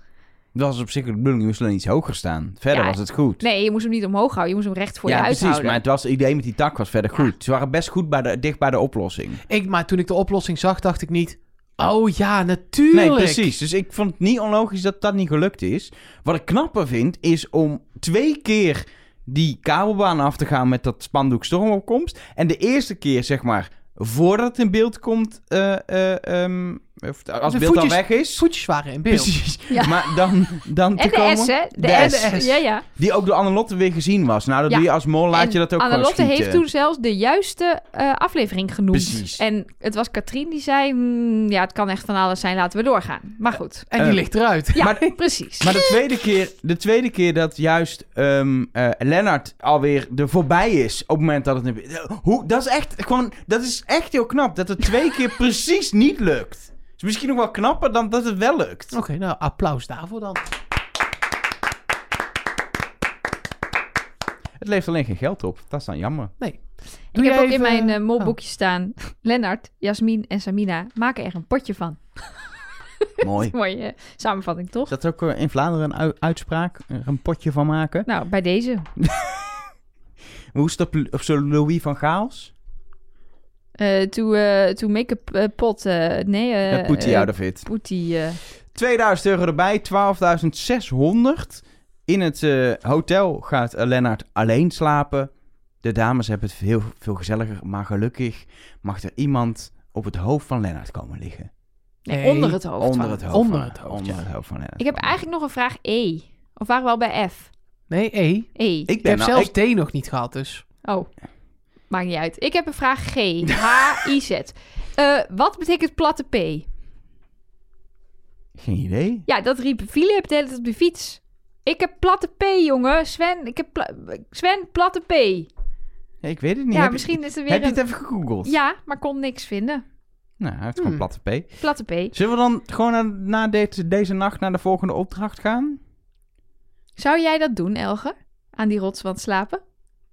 A: Dat was op zich de bedoeling, je moest alleen iets hoger staan. Verder
B: Ja,
A: was het goed.
B: Nee, je moest hem niet omhoog houden. Je moest hem recht voor
A: ja,
B: je
A: precies.
B: uithouden.
A: Maar het, was, het idee met die tak was verder goed. Ze waren best goed bij de, dicht bij de oplossing.
C: Ik, maar toen ik de oplossing zag, dacht ik niet... Oh ja, natuurlijk.
A: Nee, precies. Dus ik vond het niet onlogisch dat dat niet gelukt is. Wat ik knapper vind, is om twee keer die kabelbaan af te gaan met dat spandoek stormopkomst. En de eerste keer, zeg maar, voordat het in beeld komt, eh, eh, ehm, of als het beeld
C: voetjes-
A: al weg is.
C: Voetjes waren in beeld.
A: Precies. [LAUGHS]
B: Ja.
A: Maar dan, dan te
B: En de
A: komen,
B: S, hè? De,
A: De
B: S.
C: S.
B: Ja, ja.
A: die ook door Annelotte weer gezien was. Nou, dat
B: Ja.
A: doe je als mol, laat je
B: En
A: dat ook gewoon
B: Annelotte
A: schieten.
B: heeft toen zelfs de juiste eh, aflevering genoemd.
A: Precies.
B: En het was Katrien die zei... "Hmm, ja, het kan echt van alles zijn, laten we doorgaan. Maar goed.
C: En die
A: Eh,
C: ligt eruit.
B: Ja,
A: maar-
B: precies.
A: Maar de tweede keer, de tweede keer dat juist ehm eh, Lennart alweer er voorbij is op het moment dat het... een- Hoe, dat, is echt, gewoon, dat is echt heel knap, dat het twee [LAUGHS] keer precies niet lukt. Is misschien nog wel knapper dan dat het wel lukt.
C: [LAUGHS] Oké, nou, applaus daarvoor dan.
A: Het levert alleen geen geld op, dat is dan jammer.
C: Doe
B: ik heb
C: jij
B: ook in
C: even-
B: mijn eh,
A: Oh.
B: molboekje staan... [LAUGHS] Lennart, Jasmin en Samina maken er een potje
A: [LAUGHS]
B: van.
A: [LAUGHS] Mooi.
B: Mooie eh, samenvatting, toch?
A: Is dat ook eh, in Vlaanderen een u- uitspraak? Er een potje van maken?
B: Nou, bij deze.
A: Hoe is dat op, op zo'n Louis van Gaals?
B: Eh to, eh, to make a eh, pot... eh, nee, eh,
A: Dat poet hij
B: eh,
A: out of it.
B: Poetie, eh,
A: 2000 euro erbij, 12.600. In het eh, hotel gaat eh, Lennart alleen slapen. De dames hebben het veel, veel gezelliger, maar gelukkig mag er iemand op het hoofd van Lennart komen liggen.
B: nee,
C: Nee,
B: onder het hoofd
A: onder
B: van.
A: het hoofd,
C: Onder
A: van,
C: het hoofd,
A: onder
C: ja.
A: het hoofd van Lennart.
B: Ik heb
A: komen.
B: eigenlijk nog een vraag E. Of waren we al bij F?
C: Nee, E.
B: E.
A: Ik
C: Ik heb
A: ben nou-
C: zelfs
A: ik-
C: D nog niet gehad, dus.
B: Oh, maakt niet uit. Ik heb een vraag G. H-I-Z. Eh, wat betekent platte P?
A: Geen idee.
B: Ja, dat riep Philip de hele tijd op de fiets. Ik heb platte P, jongen. Sven, ik heb pla- Sven platte P.
A: Ja, ik weet het niet.
B: Ja,
A: Heb je-
B: misschien is er
A: Heb
B: weer
A: je
B: een...
A: het even gegoogeld?
B: Ja, maar kon niks vinden.
A: Nou, hij heeft gewoon
C: Hmm.
A: platte P.
B: Platte P.
A: Zullen we dan gewoon na, na dit- deze nacht naar de volgende opdracht gaan?
B: Zou jij dat doen, Elge? Aan die rotswand slapen?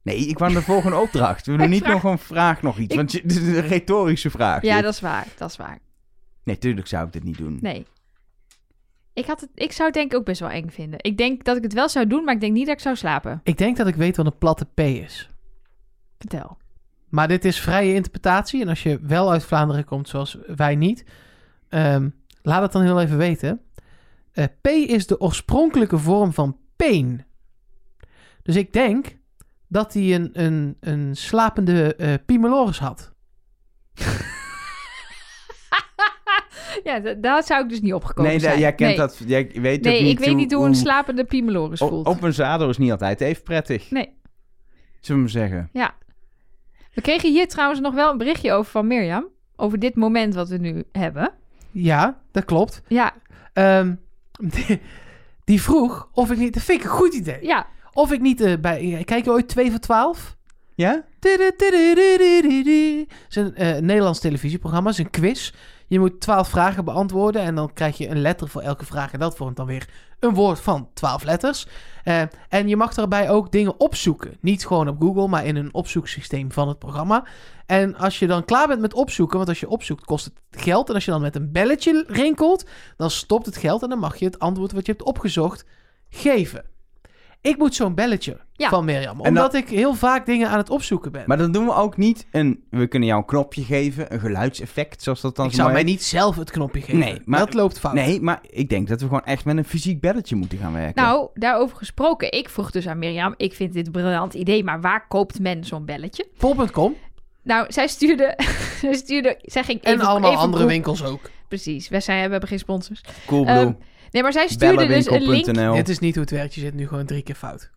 A: Nee, ik wou naar de
B: [LAUGHS]
A: volgende opdracht. We doen
B: Ik
A: niet
B: vraag-
A: nog een vraag, nog iets.
B: Ik-
A: Want je- dit is een retorische vraag.
B: Ja,
A: dit.
B: dat is waar. Dat is waar.
A: Nee, tuurlijk zou ik dit niet doen.
B: Nee. Ik, had het, ik zou het denk ik ook best wel eng vinden. Ik denk dat ik het wel zou doen, maar ik denk niet dat ik zou slapen.
C: Ik denk dat ik weet wat een platte P is.
B: Vertel.
C: Maar dit is vrije interpretatie. En als je wel uit Vlaanderen komt, zoals wij niet, ehm, laat het dan heel even weten. Eh, P is de oorspronkelijke vorm van pain. Dus ik denk dat hij een, een, een slapende eh pimeloris had.
B: [LAUGHS] Ja, da- daar zou ik dus niet opgekomen
A: nee, da-
B: zijn.
A: jij kent
B: nee.
A: dat. Jij weet ook
B: Nee,
A: niet Oh,
B: ik weet niet hoe een slapende pimeloris
A: o-
B: voelt.
A: Op een zadel is niet altijd even prettig.
B: Nee.
A: Zullen we hem zeggen?
B: We kregen hier trouwens nog wel een berichtje over van Mirjam. Over dit moment wat we nu hebben.
C: Ja, dat klopt.
B: Ja,
C: Ehm, [LAUGHS] die, die vroeg of ik niet... Dat vind ik een goed idee.
B: ja.
C: Of ik niet eh, bij... Kijk je ooit 2 voor 12?
A: Ja?
C: Tududududududu. Het is een eh, Nederlands televisieprogramma. Het is een quiz. Je moet twaalf vragen beantwoorden. En dan krijg je een letter voor elke vraag. En dat vormt dan weer een woord van twaalf letters. Eh, en je mag daarbij ook dingen opzoeken. Niet gewoon op Google, maar in een opzoeksysteem van het programma. En als je dan klaar bent met opzoeken, want als je opzoekt kost het geld. En als je dan met een belletje rinkelt, dan stopt het geld. En dan mag je het antwoord wat je hebt opgezocht geven. Ik moet zo'n belletje
B: Ja.
C: van Mirjam.
A: dan-
C: Omdat ik heel vaak dingen aan het opzoeken ben.
A: Maar dan doen we ook niet een... We kunnen jou een knopje geven, een geluidseffect, zoals dat dan
C: Ik
A: zo
C: zou
A: mooi
C: mij niet zelf het knopje geven.
A: Nee, maar-
C: dat loopt
A: heet.
C: fout.
A: Nee, maar ik denk dat we gewoon echt met een fysiek belletje moeten gaan werken.
B: Nou, daarover gesproken. Ik vroeg dus aan Mirjam, ik vind dit een briljant idee, maar waar koopt men zo'n belletje?
C: Pol.com
B: Nou, zij stuurde... [LAUGHS] zij, stuurde zij ging
C: en
B: even,
C: allemaal
B: even
C: andere
B: Google-
C: winkels ook.
B: Precies, wij zijn, we hebben geen sponsors.
A: Coolblue,
B: ehm, Nee, maar zij stuurde dus een link...
A: bellenwinkel.nl.
C: Dit is niet hoe het werkt. Je zit nu gewoon drie keer fout.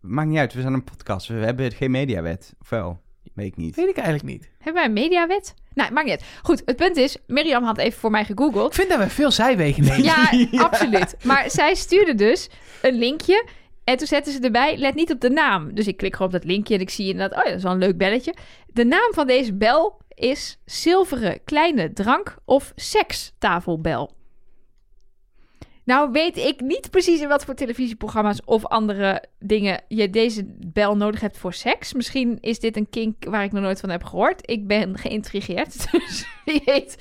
A: Maakt niet uit, we zijn een podcast. We hebben geen mediawet. Of wel? Weet ik niet.
C: Weet ik eigenlijk niet.
B: Hebben wij een mediawet? Nou, maakt niet uit. Goed, het punt is, Mirjam had even voor mij gegoogeld.
C: Ik vind dat we veel zijwegen nemen.
B: Ja,
A: Ja.
B: absoluut. Maar zij stuurde dus een linkje. En toen zetten ze erbij, let niet op de naam. Dus ik klik gewoon op dat linkje en ik zie inderdaad, oh ja, dat is wel een leuk belletje. De naam van deze bel is zilveren kleine drank of sekstafelbel. Nou weet ik niet precies in wat voor televisieprogramma's of andere dingen je deze bel nodig hebt voor seks. Misschien [LAUGHS] is dit een kink waar ik nog nooit van heb gehoord. Ik ben geïntrigeerd. Dus wie weet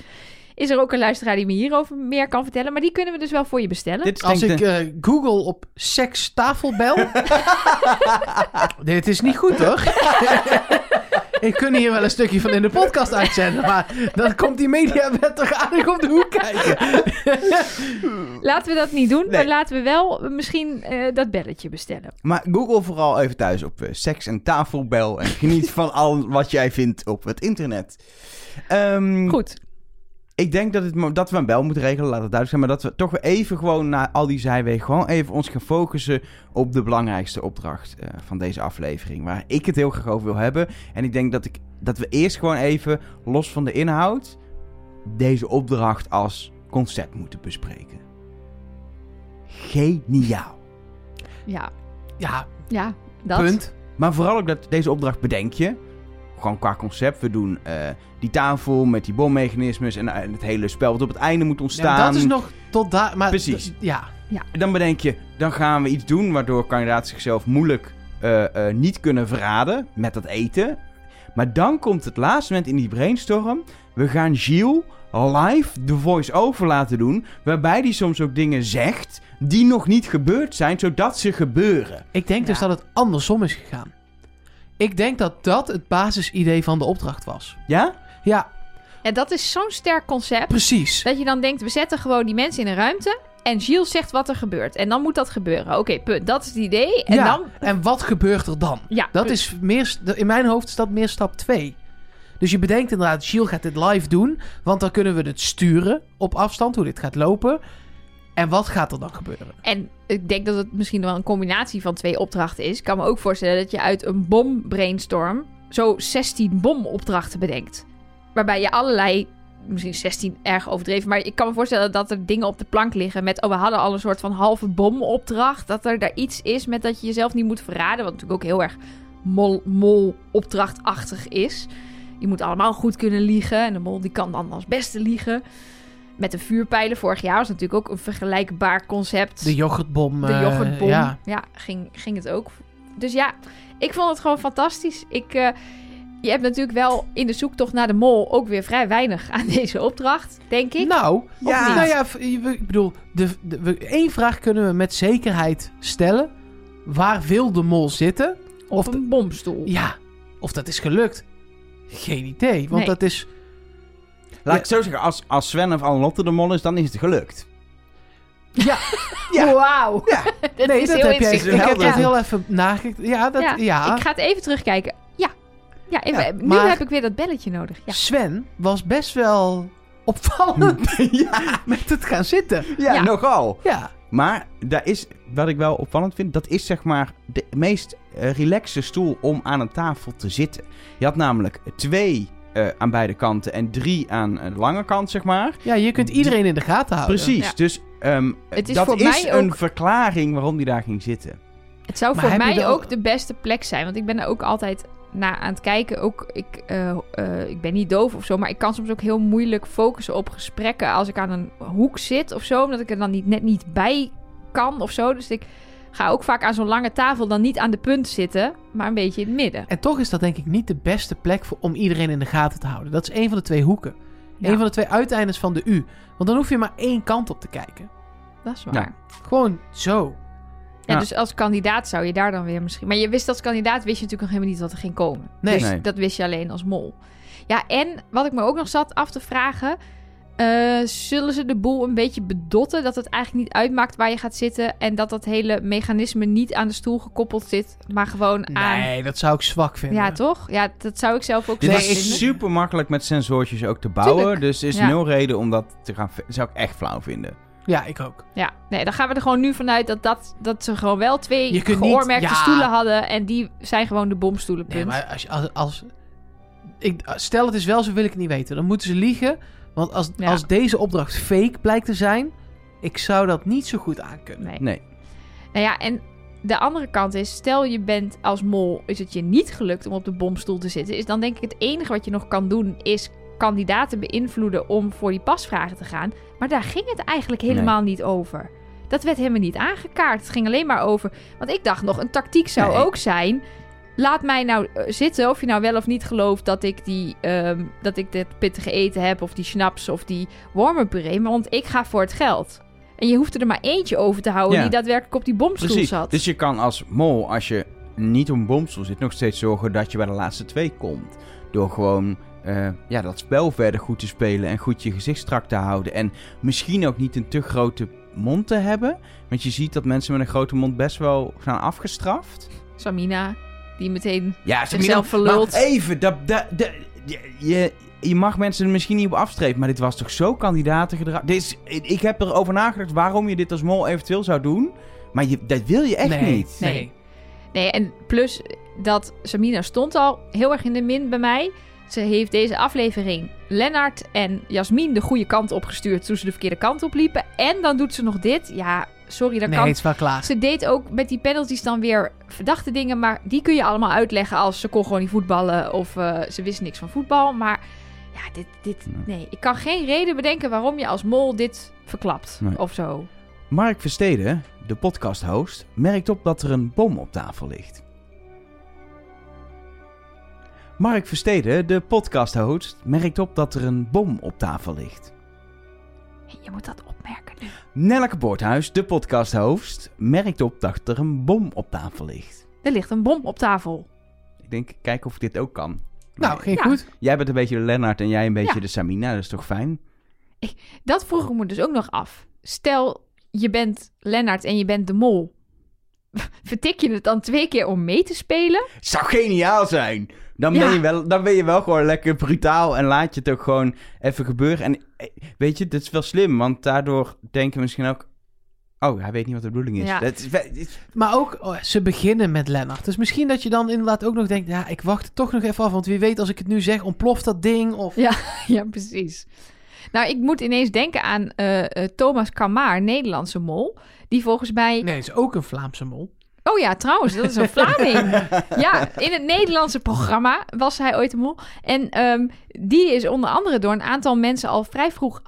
B: is er ook een luisteraar die me hierover meer kan vertellen. Maar die kunnen we dus wel voor je bestellen.
A: Dit
C: Als ik
A: klinkt,
C: eh, Google op sekstafelbel... [LAUGHS] Dit is niet goed, hoor. [LAUGHS] Ik kun hier wel een stukje van in de podcast uitzenden, maar dan komt die mediawet toch aardig op de hoek kijken.
B: Laten we dat niet doen, maar
A: Nee.
B: laten we wel misschien eh, dat belletje bestellen.
A: eh, maar Google vooral even thuis op eh, seks en tafelbel. En geniet van al wat jij vindt op het internet. Ehm,
B: Goed,
A: Ik denk dat, het, mo- dat we een bel moeten regelen, laat het duidelijk zijn. Maar dat we toch weer even gewoon na al die zijwegen... gewoon even ons gaan focussen op de belangrijkste opdracht eh, van deze aflevering. Waar ik het heel graag over wil hebben. En ik denk dat, ik, dat we eerst gewoon even, los van de inhoud... deze opdracht als concept moeten bespreken. Geniaal.
B: ja,
C: Ja,
B: ja, dat.
C: punt.
A: Maar vooral ook dat deze opdracht bedenk je. Gewoon qua concept. We doen eh, die tafel met die bommechanismes... en eh, het hele spel wat op het einde moet
C: Ja, maar
A: ontstaan.
C: dat is nog tot daar... Maar
A: Precies.
C: d- Ja,
A: Dan bedenk je, dan gaan we iets doen waardoor kandidaten zichzelf moeilijk eh, eh, niet kunnen verraden met dat eten. Maar dan komt het laatste moment in die brainstorm. We gaan Gilles live de voice-over laten doen. Waarbij hij soms ook dingen zegt die nog niet gebeurd zijn, zodat ze gebeuren.
C: ik denk dus
B: Ja.
C: dat het andersom is gegaan. Ik denk dat dat het basisidee van de opdracht was.
A: Ja?
C: Ja,
B: Ja, dat is zo'n sterk concept.
C: precies.
B: Dat je dan denkt, we zetten gewoon die mensen in een ruimte. En Gilles zegt wat er gebeurt. En dan moet dat gebeuren. Oké, punt. Dat is het idee. En
C: ja.
B: dan...
C: en wat gebeurt er dan?
B: Ja,
C: Dat
B: punt.
C: is meer, in mijn hoofd is dat meer stap 2. Dus je bedenkt inderdaad, Shield gaat dit live doen, want dan kunnen we het sturen op afstand, hoe dit gaat lopen. En wat gaat er dan gebeuren?
B: En ik denk dat het misschien wel een combinatie van twee opdrachten is. Ik kan me ook voorstellen dat je uit een bombrainstorm zo 16 bomopdrachten bedenkt. Waarbij je allerlei, misschien 16 erg overdreven, maar ik kan me voorstellen dat er dingen op de plank liggen met, oh we hadden al een soort van halve bomopdracht. Dat er daar iets is met dat je jezelf niet moet verraden, wat natuurlijk ook heel erg mol- mol-opdrachtachtig is. Je moet allemaal goed kunnen liegen en de mol die kan dan als beste liegen. Met de vuurpijlen vorig jaar was natuurlijk ook een vergelijkbaar concept.
C: De yoghurtbom.
B: De
C: eh,
B: yoghurtbom. ja,
C: ja.
B: ging, ging het ook. Dus ja, ik vond het gewoon fantastisch. Ik, eh, je hebt natuurlijk wel in de zoektocht naar de mol ook weer vrij weinig aan [LAUGHS] deze opdracht, denk ik.
C: Nou,
A: Ja.
C: nou ja, v- je- ik bedoel, de, de, we- één vraag kunnen we met zekerheid stellen. Waar wil de mol zitten?
B: of een bomstoel. [LAUGHS]
C: Ja, of dat is gelukt? Geen idee,
B: Nee.
C: want dat is...
A: Laat ik het zo zeggen, als, als Sven of Anlotte de mol is, dan is het gelukt.
C: Ja,
A: Ja.
B: Wauw.
A: Ja.
B: Dit is
C: dat
B: heel
C: heb jij. Ik
B: inzichtelijk.
C: heb
A: Helder.
C: Nou, dat heel even nagekeken. Ja, dat,
B: Ja,
C: ja.
B: Ik ga het even terugkijken. Ja, ja, even-
A: Ja,
B: nu
C: maar-
B: heb ik weer dat belletje nodig. Ja.
C: Sven was best wel opvallend [LAUGHS]
A: ja,
C: met het gaan zitten.
A: ja,
B: Ja.
A: nogal.
C: Ja,
A: Maar daar is, wat ik wel opvallend vind, dat is zeg maar de meest eh, relaxe stoel om aan een tafel te zitten. Je had namelijk twee eh, aan beide kanten en drie aan eh, de lange kant, zeg maar.
C: ja je kunt iedereen in de gaten houden.
A: Precies,
B: Oh, Ja.
A: dus ehm,
B: Het is voor
A: dat is
B: mij ook-
A: een verklaring waarom die daar ging zitten.
B: Het zou
C: Maar
B: voor
C: heb je
B: mij
C: dan-
B: ook de beste plek zijn. Want ik ben er ook altijd naar aan het kijken. Ook, ik, eh, eh, ik ben niet doof of zo. Maar ik kan soms ook heel moeilijk focussen op gesprekken. Als ik aan een hoek zit of zo. Omdat ik er dan niet, net niet bij kan of zo. Dus ik ga ook vaak aan zo'n lange tafel dan niet aan de punt zitten. Maar een beetje in het midden.
C: En toch is dat denk ik niet de beste plek voor, om iedereen in de gaten te houden. Dat is één van de twee hoeken.
B: Ja.
C: Eén van de twee uiteindes van de U. Want dan hoef je maar één kant op te kijken.
B: Dat is waar.
A: Ja.
C: Gewoon zo.
B: Ja,
A: Ja.
B: Dus als kandidaat zou je daar dan weer misschien... Maar je wist als kandidaat, wist je natuurlijk nog helemaal niet wat er ging komen.
C: Nee.
B: Dus
A: Nee.
B: dat wist je alleen als mol. Ja, en wat ik me ook nog zat af te vragen... eh, zullen ze de boel een beetje bedotten dat het eigenlijk niet uitmaakt waar je gaat zitten... en dat dat hele mechanisme niet aan de stoel gekoppeld zit, maar gewoon Dus aan...
C: Nee, dat zou ik zwak vinden.
B: Ja, toch? Ja, dat zou ik zelf ook
A: Dit
B: zo
C: Nee, ik-
A: is
B: vinden.
A: super makkelijk met sensortjes ook te bouwen,
B: Tuurlijk.
A: dus er is
B: Ja.
A: nul reden om dat te gaan... ver- zou ik echt flauw vinden.
C: Ja, ik ook.
B: Ja, nee, dan gaan we er gewoon nu vanuit dat, dat, dat ze gewoon wel twee
C: Je kunt niet-
B: geoormerkte
C: ja.
B: stoelen hadden... en die zijn gewoon de bomstoelen,
C: Nee,
B: punt.
C: maar als, je- als, als ik, stel het is wel zo, wil ik het niet weten. Dan moeten ze liegen. Want als,
B: Ja.
C: als deze opdracht fake blijkt te zijn, ik zou dat niet zo goed aankunnen.
B: Nee.
A: Nee.
B: Nou ja, en de andere kant is, stel je bent als mol, is het je niet gelukt om op de bomstoel te zitten, is dan denk ik het enige wat je nog kan doen is kandidaten beïnvloeden om voor die pasvragen te gaan. Maar daar ging het eigenlijk helemaal niet over. Dat werd helemaal niet aangekaart. Het ging alleen maar over. Want ik dacht nog, een tactiek zou
A: Nee.
B: ook zijn. laat mij nou eh, zitten, of je nou wel of niet gelooft dat ik, die, ehm, dat ik dit pittige eten heb, of die schnaps, of die wormenpuree, maar want ik ga voor het geld. En je hoefde er maar eentje over te houden
A: Ja.
B: die daadwerkelijk op die bomstoel
A: Precies.
B: zat.
A: Dus je kan als mol, als je niet op een bomstoel zit, nog steeds zorgen dat je bij de laatste twee komt. Door gewoon eh, ja, dat spel verder goed te spelen en goed je gezicht strak te houden. En misschien ook niet een te grote mond te hebben. Want je ziet dat mensen met een grote mond best wel gaan afgestraft.
B: Samina, die meteen...
A: Ja, ze
B: Zichzelf verlult.
A: Maar even, dat, dat, dat- je- je, je mag mensen er misschien niet op afstrepen, maar dit was toch zo kandidatengedrag? Dit is, ik ik heb erover nagedacht waarom je dit als mol eventueel zou doen. Maar je, dat wil je echt
C: nee,
A: niet.
C: Nee.
B: Nee. Nee, en plus dat Samina stond al heel erg in de min bij mij. Ze heeft deze aflevering Lennart en Jasmin de goede kant opgestuurd toen ze de verkeerde kant op liepen. En dan doet ze nog dit. Ja, sorry, dat
C: Nee,
B: kan
C: het is wel klaar.
B: Ze deed ook met die penalties dan weer verdachte dingen. Maar die kun je allemaal uitleggen als ze kon gewoon niet voetballen. Of eh, ze wist niks van voetbal. Maar ja, dit, dit... Nee, ik kan geen reden bedenken waarom je als mol dit verklapt.
A: Nee.
B: Of zo.
A: Mark Versteden, de podcasthost, merkt op dat er een bom op tafel ligt. Mark Versteden, de podcasthost, merkt op dat er een bom op tafel ligt.
B: Je moet dat opmerken nu.
A: Nelleke Boorthuis, de podcasthost, merkt op dat er een bom op tafel ligt.
B: Er ligt een bom op tafel.
A: Ik denk, kijk of ik dit ook kan.
C: Nou, ging
B: Ja.
C: goed.
A: Jij bent een beetje de Lennart en jij een beetje
B: Ja.
A: de Samina, dat is toch fijn?
B: Dat vroeg ik me dus ook nog af. Stel, je bent Lennart en je bent de mol. [LAUGHS] Vertik je het dan twee keer om mee te spelen?
A: Zou geniaal zijn! Dan,
B: Ja.
A: ben je wel, dan ben je wel gewoon lekker brutaal en laat je het ook gewoon even gebeuren. En eh, weet je, dit is wel slim, want daardoor denken we misschien ook... Oh, hij weet niet wat de bedoeling is.
B: Ja.
A: Dat is, we- is-
C: Maar ook, oh, ze beginnen met Lennart. Dus misschien dat je dan inderdaad ook nog denkt... ja, ik wacht het toch nog even af, want wie weet als ik het nu zeg... ontploft dat ding of...
B: [LAUGHS] ja, precies. Nou, ik moet ineens denken aan eh, eh, Thomas Kamaar, Nederlandse mol. Die volgens mij...
C: Nee, het is ook een Vlaamse mol.
B: Oh ja, trouwens, dat is een Vlaming. ja, in het Nederlandse programma was hij ooit een mol. En ehm, die is onder andere door een aantal mensen al vrij vroeg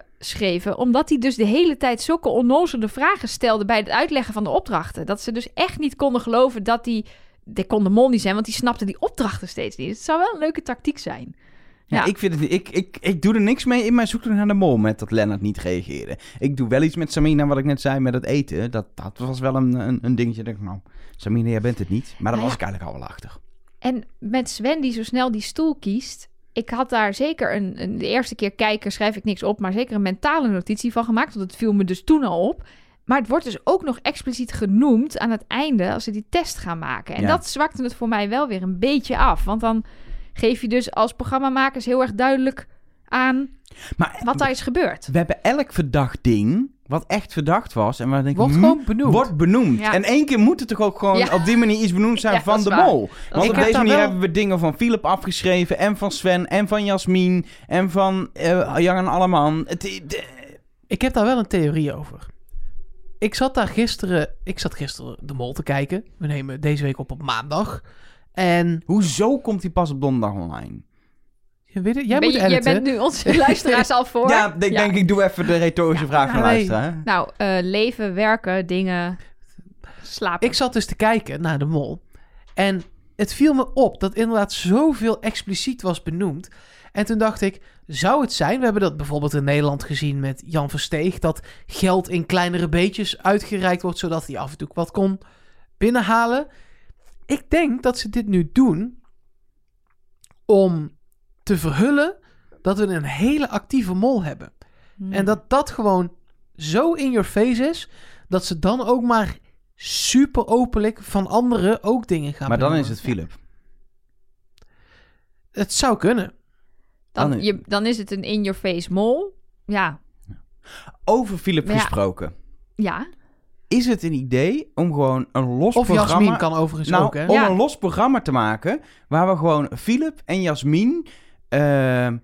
B: afgeschreven. Omdat hij dus de hele tijd zulke onnozele vragen stelde bij het uitleggen van de opdrachten. Dat ze dus echt niet konden geloven dat hij... Dit kon de mol niet zijn, want die snapte die opdrachten steeds niet. Het zou wel een leuke tactiek zijn.
A: ja,
B: Ja.
A: Ik, vind het, niet- ik, ik, ik doe er niks mee in mijn zoektocht naar de mol met dat Lennart niet reageerde. Ik doe wel iets met Samina, wat ik net zei, met het eten. Dat, dat was wel een, een, een dingetje. Ik Denk, nou, Samina, jij bent het niet. Maar dan
B: Nou
A: was ik eigenlijk al wel achter.
B: En met Sven die zo snel die stoel kiest. Ik had daar zeker een, een- de eerste keer kijken, schrijf ik niks op, maar zeker een mentale notitie van gemaakt. Want het viel me dus toen al op. Maar het wordt dus ook nog expliciet genoemd aan het einde als ze die test gaan maken. En
A: Ja.
B: dat zwakte het voor mij wel weer een beetje af. Want dan geef je dus als programmamakers heel erg duidelijk aan
A: Maar
B: wat daar is gebeurd.
A: We hebben elk verdacht ding, wat echt verdacht was. En waar denk ik,
C: Wordt
A: hmm,
C: gewoon benoemd.
A: wordt benoemd.
B: Ja.
A: En één keer moet het toch ook gewoon
B: Ja.
A: op die manier iets benoemd zijn
B: Ja, dat
A: van
B: is
A: de
B: waar.
A: mol.
B: waar.
A: Want
C: Ik
A: op
C: heb
A: deze
C: daar
A: manier
C: wel-
A: hebben we dingen van Philip afgeschreven. En van Sven, en van Jasmin, en van eh Jan en Alleman. Het, het-
C: Ik heb daar wel een theorie over. Ik zat daar gisteren... Ik zat gisteren de mol te kijken. We nemen deze week op op maandag. En...
A: hoezo komt hij pas op donderdag online?
C: je Weet het, jij
B: Ben
C: moet
B: je, jij
C: editen.
B: bent nu onze [LAUGHS] luisteraars al voor.
A: Ja, ik denk ik doe even de retorische vraag van
C: nee.
A: luisteren.
B: Nou, eh, leven, werken, dingen, slapen.
C: Ik zat dus te kijken naar de mol. En het viel me op dat inderdaad zoveel expliciet was benoemd. En toen dacht ik, zou het zijn? We hebben dat bijvoorbeeld in Nederland gezien met Jan Versteeg. Dat geld in kleinere beetjes uitgereikt wordt, zodat hij af en toe wat kon binnenhalen. Ik denk dat ze dit nu doen om te verhullen dat we een hele actieve mol hebben.
B: Hm.
A: Hmm.
C: En dat dat gewoon zo in your face is, dat ze dan ook maar super openlijk van anderen ook dingen gaan
A: Maar dan
C: benoemen.
A: is het Philip.
C: Het zou kunnen.
B: Dan,
A: Dan-
B: je, dan is het een in-your-face mol. Ja,
A: Over Philip
B: Maar ja.
A: gesproken.
B: ja.
A: Is het een idee om gewoon een los
C: Of Jasmin
A: programma...
C: kan overigens
A: nou,
C: ook, hè?
A: om
B: Ja.
A: een los programma te maken waar we gewoon Philip en Jasmin, ehm,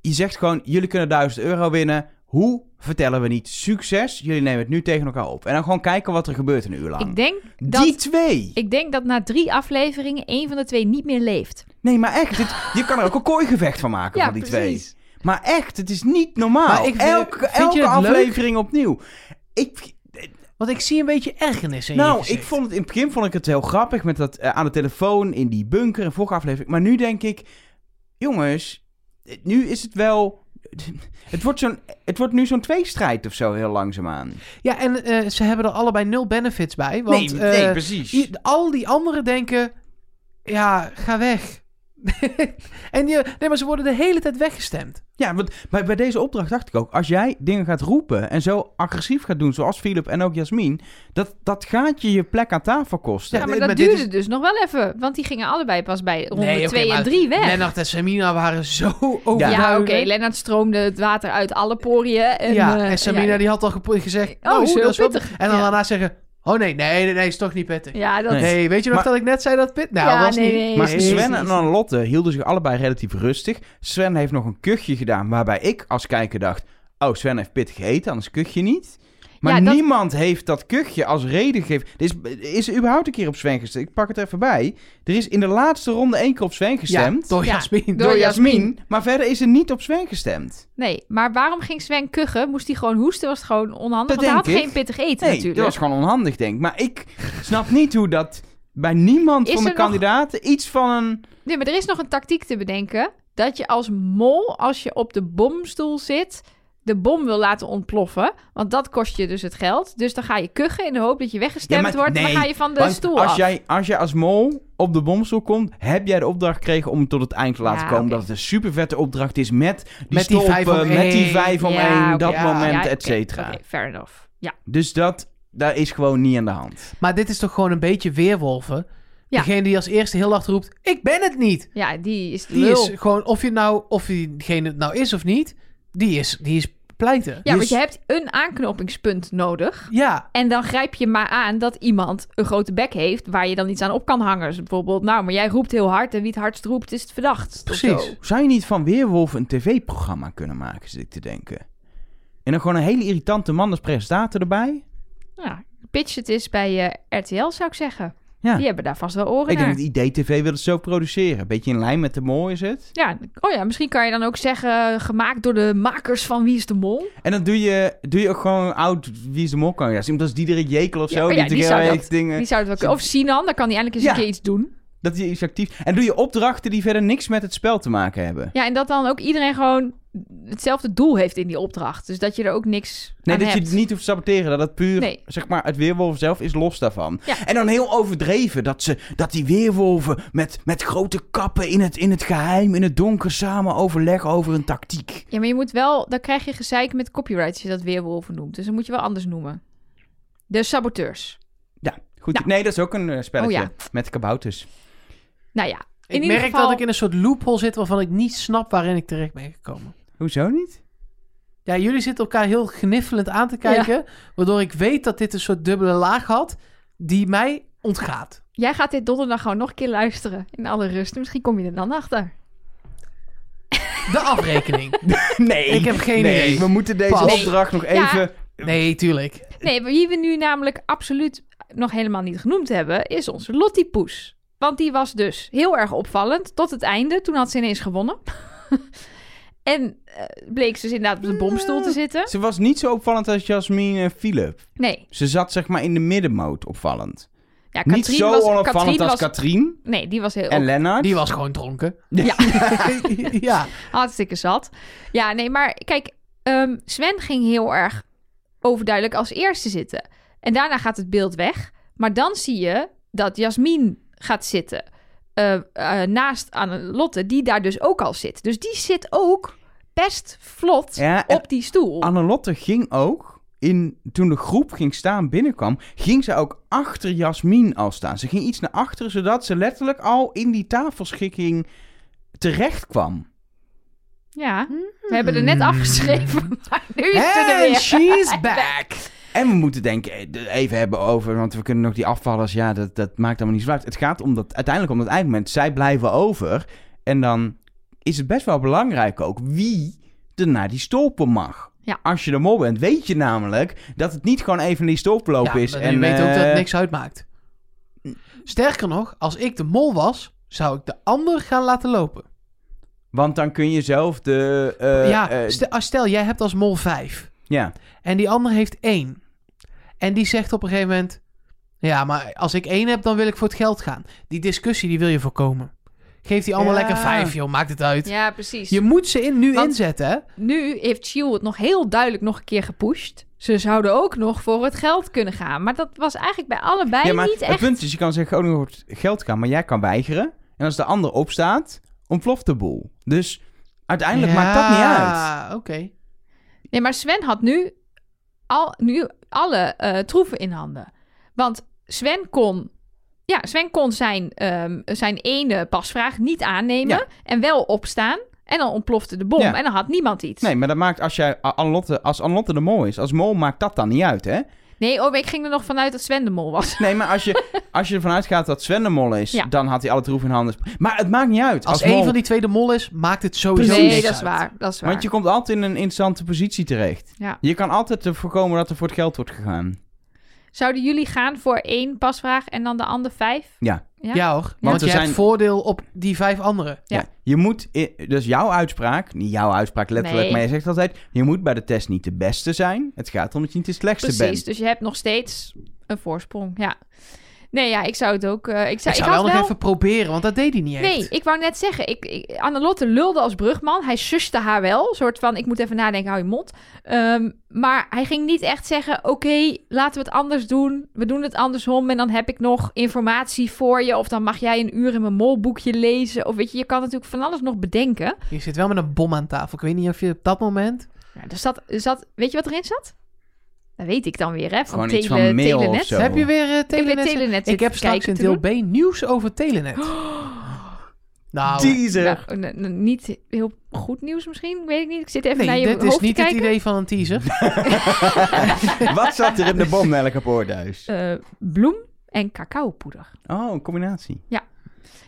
A: je zegt gewoon, jullie kunnen 1000 euro winnen. Hoe vertellen we niet succes? Jullie nemen het nu tegen elkaar op. En dan gewoon kijken wat er gebeurt een uur lang.
B: Ik denk,
A: Die
B: dat-
A: twee!
B: ik denk dat na drie afleveringen één van de twee niet meer leeft.
A: Nee, maar echt, het- je kan er
B: [LAUGHS]
A: ook een kooigevecht van maken
B: Ja,
A: van die
B: precies.
A: twee. Maar echt, het is niet normaal.
C: Maar ik vind-
A: elke
C: vind je
A: elke
C: het leuk?
A: aflevering opnieuw. Ik,
C: Want ik zie een beetje ergernis in je
A: Nou,
C: gezicht.
A: ik vond het, in het begin vond ik het heel grappig met dat eh, aan de telefoon, in die bunker, en vorige aflevering. Maar nu denk ik, jongens, eh, nu is het wel... [LAUGHS] Het wordt, zo'n, het wordt nu zo'n tweestrijd of zo, heel langzaamaan.
C: Ja, en eh, ze hebben er allebei nul benefits bij. Want
A: nee, nee,
C: eh,
A: precies.
C: i- al die anderen denken... Ja, ga weg. [LAUGHS] en je, nee, maar ze worden de hele tijd weggestemd.
A: Ja, want bij, bij deze opdracht dacht ik ook, als jij dingen gaat roepen en zo agressief gaat doen, zoals Philip en ook Jasmin, dat, dat gaat je je plek aan tafel kosten.
B: Ja,
C: Ja,
B: maar
C: maar
B: dat
C: dit
B: duurde
C: is-
B: dus nog wel even. Want die gingen allebei pas bij ronde
C: Nee, oké,
B: 2 en
C: maar
B: 3 weg.
C: Lennart en Samina waren zo
B: ja,
C: overduidelijk.
B: oké. Lennart stroomde het water uit alle poriën. En,
C: ja,
B: eh,
C: en Samina
B: ja.
C: die had al gepo- gezegd...
B: Oh,
C: Oh,
B: is heel
C: dat is wel-
B: pittig.
C: En dan
B: Ja.
C: daarna zeggen... Oh nee, nee, nee, nee, is toch niet pittig.
B: Ja, dat...
A: Nee.
C: Nee, weet je nog
A: Maar-
C: dat ik net zei dat pit? Nou,
B: Ja,
C: was
B: nee,
C: niet.
B: nee,
A: Maar
B: nee, nee,
A: Sven
B: nee.
A: en Lotte hielden zich allebei relatief rustig. Sven heeft nog een kuchje gedaan, waarbij ik als kijker dacht... Oh, Sven heeft pittig gegeten, anders kuchje niet. Maar
B: Ja, dat-
A: niemand heeft dat kuchje als reden gegeven. Er is, is er überhaupt een keer op Sven gestemd. Ik pak het er even bij. Er is in de laatste ronde één keer op Sven gestemd.
C: Ja, door
B: Ja.
C: Jasmin.
B: Door-
A: Jasmin,
B: Jasmin.
A: Maar verder is er niet op Sven gestemd.
B: Nee, maar waarom ging Sven kuchen? Moest hij gewoon hoesten? Was het gewoon
A: Dat
B: onhandig? want hij had
A: denk ik.
B: geen pittig eten
A: Nee,
B: natuurlijk.
A: dat was gewoon onhandig, denk ik. Maar ik snap niet hoe dat bij niemand
B: Is
A: van de
B: er nog-
A: kandidaten iets van een...
B: Nee, maar er is nog een tactiek te bedenken. Dat je als mol, als je op de bomstoel zit, de bom wil laten ontploffen. Want dat kost je dus het geld. Dus dan ga je kuchen in de hoop dat je weggestemd
A: Ja, maar
B: wordt.
A: nee,
B: maar ga je van de
A: Want
B: stoel
A: als
B: af.
A: jij, als jij als mol op de bomstoel komt, heb jij de opdracht gekregen om het tot het eind te laten
B: Ja,
A: komen.
B: oké.
A: Dat het een super vette opdracht is met die
C: Met die
A: stolpen,
C: vijf om
A: met die
C: één.
A: vijf om
B: Ja,
A: één,
B: oké.
A: dat
C: Ja.
A: moment,
B: Ja,
A: et
B: oké,
A: cetera.
B: Oké, fair enough. Ja.
A: Dus dat, daar is gewoon niet aan de hand.
C: Maar dit is toch gewoon een beetje weerwolven?
B: Ja.
C: Degene die als eerste heel hard roept, ik ben het niet.
B: ja, die is
C: Die
B: lul.
C: is gewoon, of, je nou, of diegene het nou is of niet, die is, die is pleiten.
B: ja,
A: die
B: want je
A: is-
B: hebt een aanknopingspunt nodig.
C: Ja,
B: En dan grijp je maar aan dat iemand een grote bek heeft... waar je dan iets aan op kan hangen. Dus bijvoorbeeld, nou, maar jij roept heel hard... en wie het hardst roept, is het verdacht. of
C: Precies.
B: zo.
A: Zou je niet van Weerwolf een tv-programma kunnen maken, zit ik te denken? En dan gewoon een hele irritante man als presentator erbij?
B: Oh, Nou Ja, pitch het is bij eh, RTL, zou ik zeggen.
A: Ja.
B: Die hebben daar vast wel oren
A: Ik
B: naar.
A: denk dat IDTV wil het zo produceren. Beetje in lijn met de mol is het.
B: Ja, oh ja, misschien kan je dan ook zeggen... eh, gemaakt door de makers van Wie is de Mol.
A: En dan doe je, doe je ook gewoon oud Wie is de Mol kan. Ja, iemand als Diederik Jekel of
B: Ja,
A: zo.
B: oh ja, die
A: de
B: zou
A: hele
B: dat-
A: dingen...
B: Die zou het wel kunnen. Of Sinan, dan kan hij eindelijk eens
A: Ja.
B: een keer iets doen.
A: Dat hij is actief. En doe je opdrachten die verder niks met het spel te maken hebben.
B: Ja, en dat dan ook iedereen gewoon hetzelfde doel heeft in die opdracht. Dus dat je er ook niks
A: Nee,
B: aan
A: dat je
B: hebt.
A: het niet hoeft te saboteren. Dat het puur,
B: Nee.
A: zeg maar, het weerwolf zelf is los daarvan.
B: Ja.
A: En dan heel overdreven dat, ze, dat die weerwolven met, met grote kappen in het, in het geheim, in het donker samen overleggen over een tactiek.
B: Ja, maar je moet wel... Dan krijg je gezeik met copyright als je dat weerwolven noemt. Dus dan moet je wel anders noemen. De saboteurs.
A: Ja, goed.
B: Nou.
A: Nee, dat is ook een eh, spelletje
B: Oh ja.
A: met kabouters.
B: Nou ja, in
C: ik
B: ieder
C: merk
B: geval...
C: dat ik in een soort loophole zit waarvan ik niet snap waarin ik terecht ben gekomen.
A: Hoezo
B: [LAUGHS]
A: niet?
C: Ja, jullie zitten elkaar heel gniffelend aan te kijken, waardoor ik weet dat dit een soort dubbele laag had die mij ontgaat.
B: Jij gaat dit donderdag gewoon nog een keer luisteren. In alle rust. Misschien kom je er dan achter.
C: De afrekening.
A: nee.
C: Ik heb geen
A: nee,
C: idee.
A: We moeten deze
C: Pas.
A: opdracht nog
B: [LAUGHS] Ja.
A: even...
C: Nee, tuurlijk.
B: Nee, wie we nu namelijk absoluut nog helemaal niet genoemd hebben, is onze Lottie-poes. Want die was dus heel erg opvallend tot het einde. Toen had ze ineens gewonnen. [LAUGHS] en eh, bleek ze dus inderdaad op de bomstoel te zitten.
A: Ze was niet zo opvallend als Jasmin en Philip.
B: Nee,
A: Ze zat zeg maar in de middenmoot opvallend.
B: ja, Katrien
A: niet zo
B: was,
A: onopvallend
B: Katrien
A: als
B: was,
A: Katrien
B: Nee, die was heel
A: en Lennart.
C: Die was gewoon dronken.
B: Ja.
A: [LAUGHS]
C: [LAUGHS] ja.
B: hartstikke zat. Ja, nee, maar kijk, ehm, Sven ging heel erg overduidelijk als eerste zitten. En daarna gaat het beeld weg. Maar dan zie je dat Jasmin gaat zitten. eh, eh, naast aan Lotte, die daar dus ook al zit. Dus die zit ook best vlot
A: Ja, en
B: op die stoel.
A: Annelotte ging ook, in, toen de groep ging staan binnenkwam, ging ze ook achter Jasmin al staan. Ze ging iets naar achteren, zodat ze letterlijk al in die tafelschikking terecht kwam.
B: Ja,
A: Hmm.
B: we hebben er net afgeschreven, [LAUGHS] maar nu is het er
C: And
B: weer.
A: [LAUGHS]
C: she's back.
A: En we moeten denken, eh, de- even hebben over, want we kunnen nog die afvallers, ja, dat, dat maakt allemaal niet zo uit. Het gaat om dat, uiteindelijk om dat eindmoment. Zij blijven over en dan is het best wel belangrijk ook wie er naar die stolpen mag.
B: Ja.
A: Als je de mol bent, weet je namelijk dat het niet gewoon even naar die stolpen lopen is.
C: en je weet ook dat
A: eh,
C: het niks uitmaakt. Sterker nog, als ik de mol was, zou ik de ander gaan laten lopen.
A: Want dan kun je zelf de. eh,
C: ja,
A: eh,
C: stel, ah, stel, jij hebt als mol vijf
A: ja.
C: en die ander heeft één. En die zegt op een gegeven moment... Ja, maar als ik één heb, dan wil ik voor het geld gaan. Die discussie, die wil je voorkomen. Geef die allemaal
A: Ja.
C: lekker vijf, joh. Maakt het uit.
B: Ja, precies.
C: Je moet ze in, nu
B: Want-
C: inzetten, hè?
B: Nu heeft Shield het nog heel duidelijk nog een keer gepusht. Ze zouden ook nog voor het geld kunnen gaan. Maar dat was eigenlijk bij allebei
A: ja, maar
B: niet
A: het
B: echt.
A: punt is, je kan zeggen, oh, nu wordt geld gaan, maar jij kan weigeren. En als de ander opstaat, ontploft de boel. Dus uiteindelijk maakt dat niet uit.
C: Ja, oké.
B: Nee, maar Sven had nu, al, nu alle eh, troeven in handen. Want Sven kon, ja, Sven kon zijn, ehm, zijn ene pasvraag niet aannemen.
A: Ja.
B: En wel opstaan. En dan ontplofte de bom.
A: Ja.
B: En dan had niemand iets.
A: Nee, maar dat maakt als jij A- Anlotte, als Anlotte de mol is, als mol maakt dat dan niet uit, hè?
B: Nee, oh, ik ging er nog vanuit dat Sven de mol was.
A: Nee, maar als
C: [LAUGHS]
A: je, als je ervan uitgaat dat Sven de mol is,
B: Ja.
A: dan had hij alle troeven in handen. Maar het maakt niet uit.
C: Als,
A: Als,
C: één
A: mol,
C: van die twee de mol is, maakt het sowieso
A: Precies.
B: Nee,
C: niks
B: dat is
C: uit.
B: waar. Dat is waar.
A: Want je komt altijd in een interessante positie terecht.
B: Ja.
A: Je kan altijd eh, voorkomen dat er voor het geld wordt gegaan.
B: Zouden jullie gaan voor één pasvraag en dan de ander vijf? Ja.
C: Ja, hoor. Want,
A: Want
C: je
A: er
C: hebt
A: zijn-
C: voordeel op die vijf anderen.
B: Ja.
A: Je moet, i- dus jouw uitspraak, niet jouw uitspraak letterlijk,
B: Nee.
A: maar je zegt altijd: je moet bij de test niet de beste zijn. Het gaat erom dat je niet de slechtste
B: Precies,
A: bent.
B: dus je hebt nog steeds een voorsprong. Ja. Nee, ja, ik zou het ook... eh, ik zou,
C: Ik zou
B: ik
C: wel
B: had
C: nog even proberen, want dat deed hij niet
B: Nee,
C: echt.
B: ik wou net zeggen, ik, ik, Annelotte lulde als brugman. Hij suste haar wel, een soort van, ik moet even nadenken, hou je mond. Ehm, maar hij ging niet echt zeggen, oké, laten we het anders doen. We doen het andersom en dan heb ik nog informatie voor je. Of dan mag jij een uur in mijn molboekje lezen. Of weet je, je kan natuurlijk van alles nog bedenken.
C: Je zit wel met een bom aan tafel. Ik weet niet of je op dat moment...
B: Ja, er zat, er zat, weet je wat erin zat? Dat weet ik dan weer, hè? Van,
A: Gewoon
B: tele,
A: iets van mail of
B: telenet.
A: zo.
C: Heb je weer eh,
B: Ik heb
C: telenet?
B: weer telenet
C: ik
B: zitten
C: heb straks
B: kijken Oh.
C: in
B: te
C: deel
B: doen.
C: B nieuws over telenet. nou,
A: Teaser.
B: Nou, n- n- niet heel goed nieuws misschien, weet ik niet. Ik zit even naar
C: eh, nee,
B: je
C: dit
B: hoofd
C: is niet
B: te
C: het
B: kijken.
C: idee van een teaser.
A: [LAUGHS] Wat zat er in de bom, Nelke Poorthuis?
B: Eh, bloem en cacaopoeder.
A: Oh, een combinatie.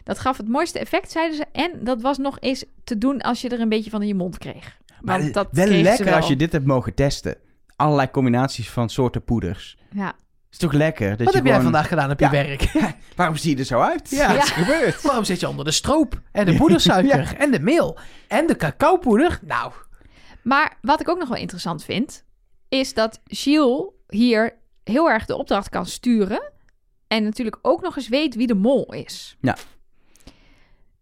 B: Dat gaf het mooiste effect, zeiden ze. En dat was nog eens te doen als je er een beetje van in je mond kreeg.
A: Maar
B: Want dat
A: wel
B: kreeg ze
A: lekker
B: wel.
A: als je dit hebt mogen testen. Allerlei combinaties van soorten poeders.
B: Ja.
A: Is toch lekker? Dat
C: Wat
A: je
C: heb jij
A: gewoon-
C: vandaag gedaan op je
A: Ja. [LAUGHS]
C: werk?
A: Waarom zie je er zo uit?
C: Ja.
A: Wat is er gebeurd?
C: Waarom zit je onder de stroop? En de poedersuiker? En de meel? En de cacaopoeder? Nou,
B: Maar wat ik ook nog wel interessant vind, is dat Gilles hier heel erg de opdracht kan sturen. En natuurlijk ook nog eens weet wie de mol is.
A: Ja.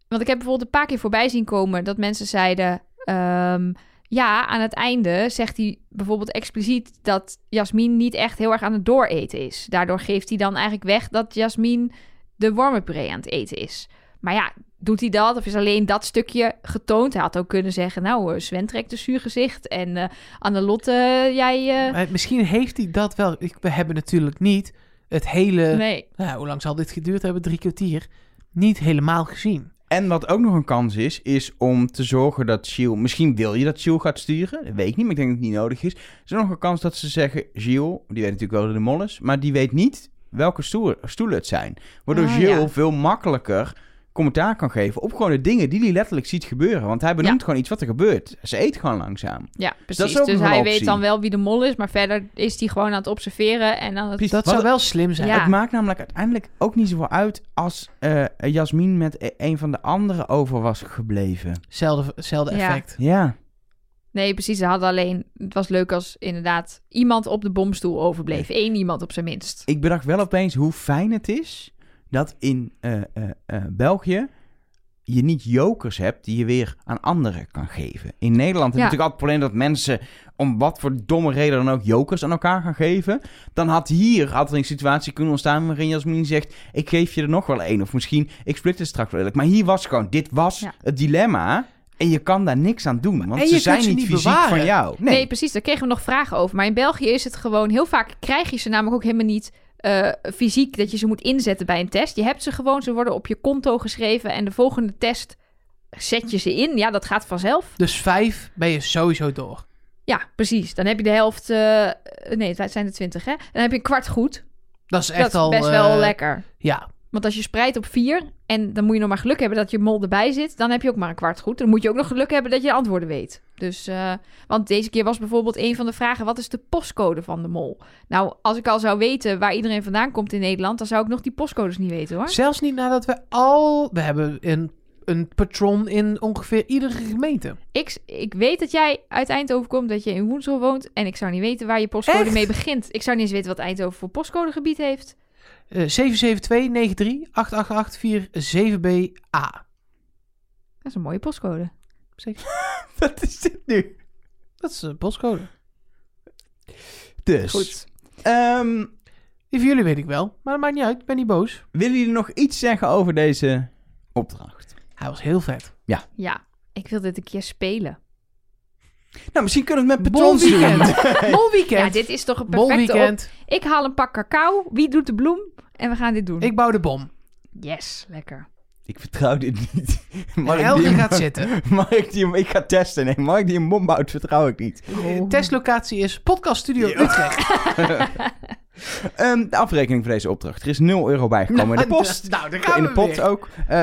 B: Want ik heb bijvoorbeeld een paar keer voorbij zien komen dat mensen zeiden. ehm, ja, aan het einde zegt hij bijvoorbeeld expliciet dat Jasmin niet echt heel erg aan het dooreten is. Daardoor geeft hij dan eigenlijk weg dat Jasmin de wormenpuree aan het eten is. Maar ja, doet hij dat? Of is alleen dat stukje getoond? Hij had ook kunnen zeggen, nou, eh, Sven trekt een zuur gezicht. En eh Annelotte, eh, jij... eh,
C: eh, misschien heeft hij dat wel. Ik- We hebben natuurlijk niet het
A: Eh,
C: hele...
B: nee.
C: Nou, hoe lang zal dit geduurd hebben? Drie kwartier. Niet helemaal gezien.
A: En wat ook nog een kans is, is om te zorgen dat Gilles... Misschien wil je dat Gilles gaat sturen. Dat weet ik niet, maar ik denk dat het niet nodig is. Is er nog een kans dat ze zeggen... Gilles, die weet natuurlijk wel dat de mol is... maar die weet niet welke stoer- stoelen het zijn. Waardoor
B: Ah,
A: Gilles
B: ja.
A: veel makkelijker commentaar kan geven... op gewoon de dingen die hij letterlijk ziet gebeuren. Want hij benoemt gewoon iets wat er gebeurt. Ze eet gewoon langzaam.
B: Ja,
A: dat
B: precies.
A: is ook
B: Dus
A: nog een
B: hij
A: optie.
B: weet dan wel wie de mol is, maar verder is hij gewoon aan het observeren en aan het...
A: Precies.
C: Dat
A: Wat-
C: zou wel slim zijn.
B: Ja.
A: Het maakt namelijk uiteindelijk ook niet zoveel uit... als eh Jasmin met e- een van de anderen over was gebleven.
C: Hetzelfde, hetzelfde
B: Ja.
C: effect.
A: Ja.
B: Nee, precies. Ze hadden alleen... Het was leuk als inderdaad iemand op de bomstoel overbleef. Eén iemand op zijn minst.
A: ik bedacht wel opeens hoe fijn het is dat in eh, eh, eh, België je niet jokers hebt die je weer aan anderen kan geven. In Nederland
B: Ja.
A: heb je natuurlijk altijd het probleem dat mensen om wat voor domme reden dan ook jokers aan elkaar gaan geven. Dan had hier had er een situatie kunnen ontstaan waarin Jasmin zegt: ik geef je er nog wel één of misschien ik split het straks wel. eerlijk. Maar hier was gewoon dit was
B: Ja.
A: het dilemma en je kan daar niks aan doen, want
C: En je
A: ze
C: kunt
A: zijn
C: ze
A: niet
C: niet
A: fysiek
C: bewaren.
A: van jou.
B: Nee.
A: [LAUGHS]
B: precies. Daar kregen we nog vragen over. Maar in België is het gewoon... Heel vaak krijg je ze namelijk ook helemaal niet eh, fysiek... dat je ze moet inzetten bij een test. Je hebt ze gewoon. Ze worden op je konto geschreven. En de volgende test zet je ze in. Ja, dat gaat vanzelf.
C: Dus vijf ben je sowieso door.
B: Ja, precies. Dan heb je de helft... eh, nee, het zijn er twintig, hè? Dan heb je een kwart goed.
C: Dat is echt
B: dat is
C: al...
B: best
C: eh,
B: wel lekker.
C: Ja,
B: Want als je spreidt op vier en dan moet je nog maar geluk hebben dat je mol erbij zit, dan heb je ook maar een kwart goed. Dan moet je ook nog geluk hebben dat je de antwoorden weet. Dus, eh, want deze keer was bijvoorbeeld een van de vragen: wat is de postcode van de mol? Nou, als ik al zou weten waar iedereen vandaan komt in Nederland, dan zou ik nog die postcodes niet weten hoor.
C: zelfs niet nadat we al... We hebben een een patron in ongeveer iedere gemeente.
B: Ik, ik weet dat jij uit Eindhoven komt, dat je in Woensel woont. En ik zou niet weten waar je postcode
C: Echt?
B: mee begint. Ik zou niet eens weten wat Eindhoven voor postcodegebied heeft.
C: Eh 772-93-888-47BA.
B: Dat is een mooie postcode.
A: Wat is dit nu?
C: Dat is een postcode.
A: Dus.
B: Goed.
A: ehm,
C: Die van jullie weet ik wel, maar dat maakt niet uit. Ik ben niet boos.
A: willen jullie nog iets zeggen over deze opdracht?
C: Hij was heel vet.
B: Ja, ik wil dit een keer spelen.
A: Nou, misschien kunnen we het met
C: Bol
A: patrons doen.
C: weekend.
A: [LAUGHS]
C: Bol
B: Ja,
C: weekend.
B: dit is toch een
C: Bol
B: perfecte op.
C: weekend.
B: Ik haal een pak cacao. Wie doet de bloem? En we gaan dit doen.
C: Ik bouw de bom.
B: Yes, lekker.
A: Ik vertrouw dit niet. Mag ik
C: Helge
A: die-
C: gaat
A: [LAUGHS]
C: zitten.
A: Mag ik die... Ik ga testen. Nee, mag ik die een bom bouwt, vertrouw ik niet.
C: Eh, Testlocatie is Podcast Studio
A: Ja.
C: Utrecht.
A: Ehm, de afrekening voor deze opdracht. Er is 0 euro bijgekomen in de post.
C: Nou, daar gaan
A: in de
C: we
A: pot
C: weer.
A: ook. Eh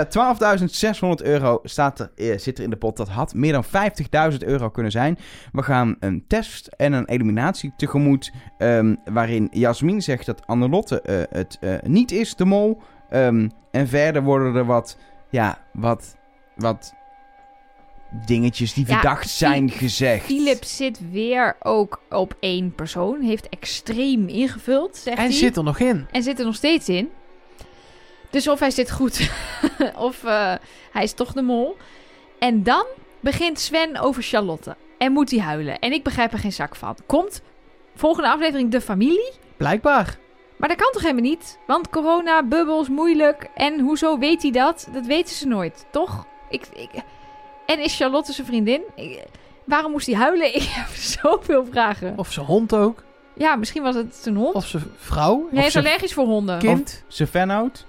A: 12.600 euro staat er, eh, zit er in de pot. Dat had meer dan 50.000 euro kunnen zijn. We gaan een test en een eliminatie tegemoet. ehm, waarin Jasmin zegt dat Annelotte eh, het eh, niet is, de mol. Ehm, en verder worden er wat, ja, wat, wat dingetjes die
B: Ja,
A: verdacht zijn
B: Fi-
A: gezegd.
B: Philip zit weer ook op één persoon. Heeft extreem ingevuld, zegt
C: En
B: hij.
C: zit er nog in.
B: En zit er nog steeds in. Dus of hij zit goed, [LAUGHS] of eh, hij is toch de mol. En dan begint Sven over Charlotte. En moet hij huilen. En ik begrijp er geen zak van. Komt volgende aflevering de familie?
C: Blijkbaar.
B: Maar dat kan toch helemaal niet? Want corona, bubbels, moeilijk. En hoezo weet hij dat? Dat weten ze nooit, toch? Ik, ik... En is Charlotte zijn vriendin? Ik- Waarom moest hij huilen? [LAUGHS] Ik heb zoveel vragen.
C: Of zijn hond ook.
B: Ja, misschien was het zijn hond.
C: Of zijn vrouw.
B: Hij
C: of
B: is
C: zijn
B: allergisch voor honden.
C: kind.
A: Ze fanout?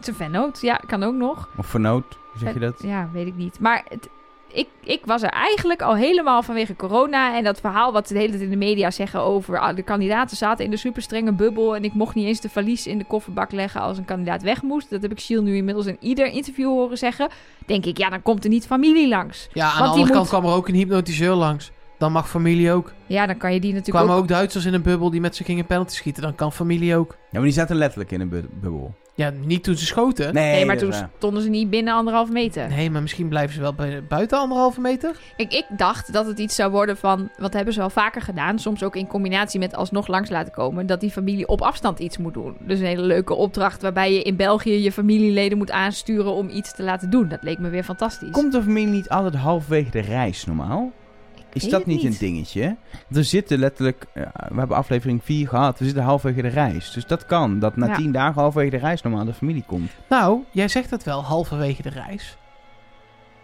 B: Zijn vennoot, ja, kan ook nog.
A: Of vernoot? Hoe zeg je dat?
B: Eh, Ja, weet ik niet. Maar het- ik, ik was er eigenlijk al helemaal vanwege corona. En dat verhaal wat ze de hele tijd in de media zeggen over... ah, de kandidaten zaten in de superstrenge bubbel... en ik mocht niet eens de valies in de kofferbak leggen als een kandidaat weg moest. Dat heb ik Shiel nu inmiddels in ieder interview horen zeggen. Denk ik, ja, dan komt er niet familie langs.
C: Ja, aan
B: Want
C: de
B: die
C: andere kant
B: moet-
C: kwam er ook een hypnotiseur langs. Dan mag familie ook.
B: Ja, dan kan je die natuurlijk
C: kwamen
B: ook...
C: ook... Duitsers in een bubbel die met ze gingen penalty schieten. Dan kan familie ook.
A: Ja, maar die zaten letterlijk in een bu- bubbel.
C: Ja, niet toen ze schoten.
A: Nee,
B: Nee, maar
A: dat
B: toen
A: is waar.
B: stonden ze niet binnen anderhalf meter.
C: Nee, maar misschien blijven ze wel bij- buiten anderhalve meter.
B: Kijk, ik dacht dat het iets zou worden van... wat hebben ze wel vaker gedaan, soms ook in combinatie met alsnog langs laten komen... dat die familie op afstand iets moet doen. Dus een hele leuke opdracht waarbij je in België je familieleden moet aansturen... om iets te laten doen. Dat leek me weer fantastisch.
A: Komt de familie niet altijd halfwege de reis normaal?
B: Ik
A: Is
B: weet
A: dat
B: het
A: niet, een dingetje? Want We zitten letterlijk, ja, we hebben aflevering 4 gehad, we zitten halverwege de reis. Dus dat kan, dat na
B: Ja.
A: 10 dagen halverwege de reis normaal de familie komt.
C: Nou, jij zegt dat wel halverwege de reis.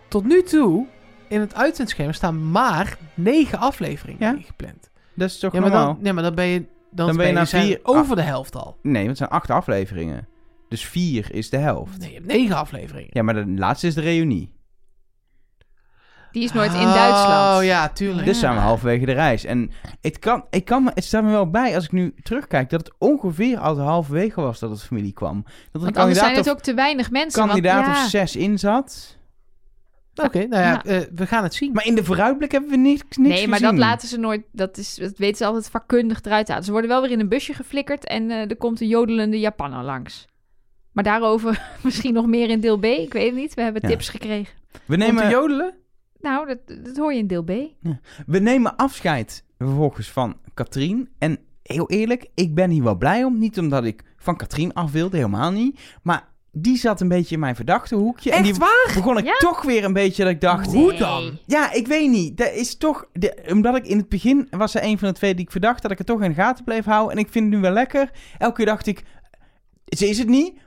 C: Tot nu toe, in het uitzendscherm staan maar negen afleveringen
A: Ja?
C: ingepland.
A: Dat is toch
C: Ja, maar
A: normaal?
C: dan, nee, maar dan ben je, dan
A: ben je
C: ben je,
A: na
C: zijn
A: vier-
B: Ah.
C: over de helft al.
A: Nee, want het zijn 8 afleveringen. Dus 4 is de helft.
C: Nee, je hebt negen afleveringen.
A: Ja, maar de laatste is de reunie.
B: Die is nooit in Duitsland.
C: Oh ja, tuurlijk.
A: Dus zijn we halverwege de reis. En het, kan, ik kan me, het staat me wel bij als ik nu terugkijk dat het ongeveer altijd halverwege was dat het familie kwam. Dat er een
B: Want anders zijn
A: kandidaat,
B: het
A: of,
B: ook te weinig mensen. want-
A: kandidaat
B: ja.
A: of 6 in zat.
C: Oké, nou ja,
B: Ja.
C: eh, we gaan het zien.
A: Maar in de vooruitblik hebben we niks, niks
B: nee, maar
A: gezien.
B: dat laten ze nooit. Dat, is, dat weten ze altijd vakkundig eruit te halen. Ze worden wel weer in een busje geflikkerd en eh, er komt een jodelende Japanner langs. Maar daarover [LAUGHS] misschien nog meer in deel B. Ik weet het niet. We hebben
A: Ja.
B: tips gekregen.
A: We
C: Om te
A: nemen,
C: jodelen?
B: Nou, dat, dat hoor je in deel B.
A: We nemen afscheid vervolgens van Katrien. En heel eerlijk, ik ben hier wel blij om. Niet omdat ik van Katrien af wilde, helemaal niet. Maar die zat een beetje in mijn verdachte hoekje. en
C: Echt
A: die begon ik
B: Ja.
A: toch weer een beetje dat ik dacht...
C: Hoe dan?
A: Ja, ik weet niet. Dat is toch... de- omdat ik in het begin was er een van de twee die ik verdacht... dat ik het toch in de gaten bleef houden. En ik vind het nu wel lekker. Elke keer dacht ik... Ze is het niet...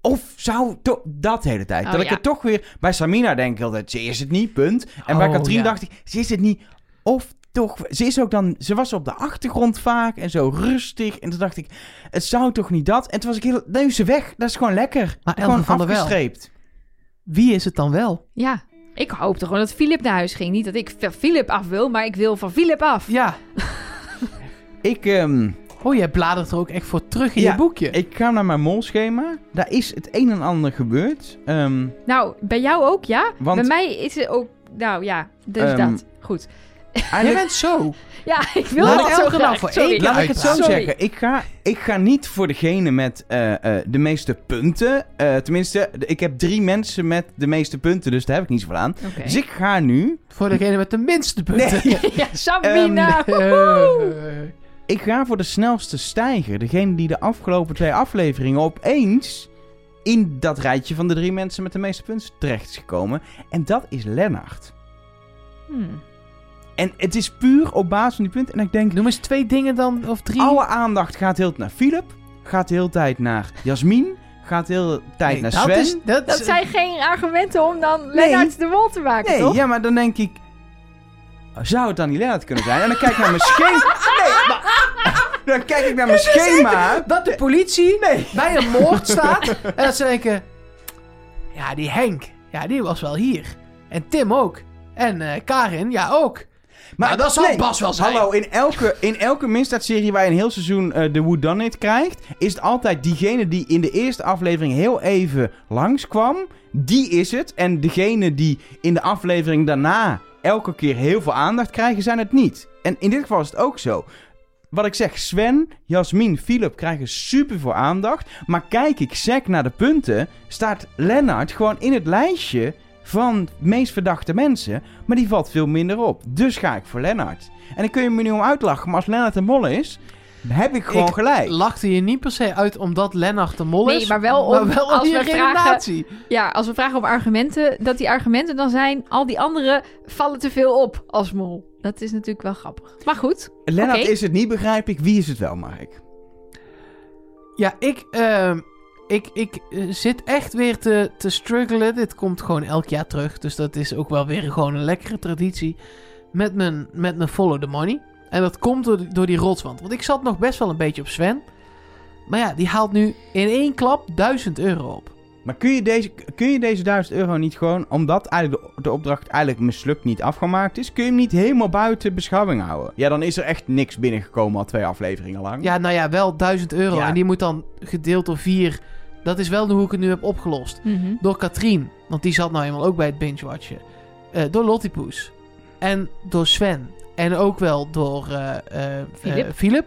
A: Of zou to- dat de hele tijd.
B: Oh,
A: dat ik
B: ja.
A: het toch weer... Bij Samina denk ik altijd... Ze is het niet, punt. En bij
C: Oh,
A: Katrien
C: ja.
A: dacht ik... Ze is het niet... Of toch... Ze is ook dan... Ze was op de achtergrond vaak. En zo rustig. En toen dacht ik... Het zou toch niet dat? En toen was ik heel... Nee, ze weg. Dat is gewoon lekker.
C: Maar Elke
A: gewoon
C: van der Wel.
A: afgestreept.
C: Wie is het dan wel?
B: Ja, ik hoopte gewoon dat Philip naar huis ging. Niet dat ik van Philip af wil, maar ik wil van Philip af.
C: Ja.
A: Ik... ehm,
C: Oh, jij bladert er ook echt voor terug in
A: Ja,
C: je boekje.
A: Ik ga naar mijn molschema. Daar is het een en ander gebeurd. Ehm,
B: Nou, bij jou ook, ja?
A: want
B: Bij mij is het ook... Nou ja, dus
A: Ehm,
B: dat. Goed.
C: Jij
A: Eigenlijk,
C: bent zo.
B: Ja, [LAUGHS] ik wil
C: Laat
B: dat
C: ik
B: zo
C: elke dag
B: graag.
C: voor
B: Sorry.
C: één keer
A: laat ik het zo
C: uitpraten.
B: Sorry.
A: zeggen. Ik ga, ik ga niet voor degene met eh, eh, de meeste punten. Eh, tenminste, de- ik heb drie mensen met de meeste punten, dus daar heb ik niets voor aan.
B: Oké.
A: Dus ik ga nu...
C: Voor degene met de minste punten. [LAUGHS]
B: [LAUGHS] Ja, Sabina.
A: Ehm,
C: Eh,
A: Ik ga voor de snelste stijger. Degene die de afgelopen twee afleveringen opeens in dat rijtje van de drie mensen met de meeste punten terecht is gekomen. En dat is Lennart. eh,
B: Hmm.
A: En het is puur op basis van die punten. En ik denk,
C: Noem eens twee dingen dan, of drie.
A: alle aandacht gaat heel de tijd naar Philip. Gaat de hele tijd naar Jasmin. Gaat de hele tijd
C: Nee,
A: naar
C: dat
A: Sven.
C: Is, dat,
B: Dat
C: is-
B: zijn geen argumenten om dan Lennart de Wol te maken,
A: Nee,
B: toch?
A: ja, maar dan denk ik... Zou het dan niet Lennart kunnen zijn? En dan kijk ik naar
C: [LAUGHS]
A: mijn schema. Nee, maar... [LAUGHS] Dan kijk ik naar mijn schema.
C: dat de politie bij een
A: [LAUGHS]
C: moord staat. en dat ze denken... Ja, die Henk. Ja, die was wel hier. En Tim ook. En eh, Karin, ja ook. Maar dat zal
A: nee.
C: Bas wel zijn.
A: Hallo, in elke, in elke misdaadserie waar je een heel seizoen eh de Whodunit krijgt, is het altijd diegene die in de eerste aflevering heel even langskwam, die is het. En degene die in de aflevering daarna elke keer heel veel aandacht krijgen, zijn het niet. En in dit geval is het ook zo. Wat ik zeg, Sven, Jasmin, Philip krijgen super veel aandacht. Maar kijk ik sec naar de punten, staat Lennart gewoon in het lijstje van meest verdachte mensen. Maar die valt veel minder op. Dus ga ik voor Lennart. En dan kun je me nu om uitlachen. Maar als Lennart een molle is, heb ik gewoon
C: Ik
A: gelijk.
C: Lachte je niet per se uit omdat Lennart de mol is.
B: Nee, maar wel om- als
C: je
B: we vragen-
C: redenatie.
B: Ja, als we vragen om argumenten, dat die argumenten dan zijn... al die anderen vallen te veel op als mol. Dat is natuurlijk wel grappig. Maar goed,
A: Lennart
B: oké.
A: is het niet, begrijp ik. Wie is het wel, Mark?
C: Ja, ik, ehm, ik, ik eh, zit echt weer te, te struggelen. Dit komt gewoon elk jaar terug. Dus dat is ook wel weer gewoon een lekkere traditie. Met mijn, met mijn follow the money. En dat komt door, door die rotswand. Want ik zat nog best wel een beetje op Sven. Maar ja, die haalt nu in één klap 1000 euro op.
A: Maar kun je, deze, kun je deze 1000 euro niet gewoon, omdat eigenlijk de, de opdracht eigenlijk mislukt niet afgemaakt is, kun je hem niet helemaal buiten beschouwing houden? Ja, dan is er echt niks binnengekomen al twee afleveringen lang.
C: Ja, nou ja, wel 1000 euro.
A: Ja.
C: En die moet dan gedeeld door 4. Dat is wel hoe ik het nu heb opgelost.
B: Mhm.
C: Door Katrien, want die zat nou eenmaal ook bij het binge-watchen. Eh, door Lottipoes. En door Sven. En ook wel door eh, eh, eh,
B: Philip.
C: Philip.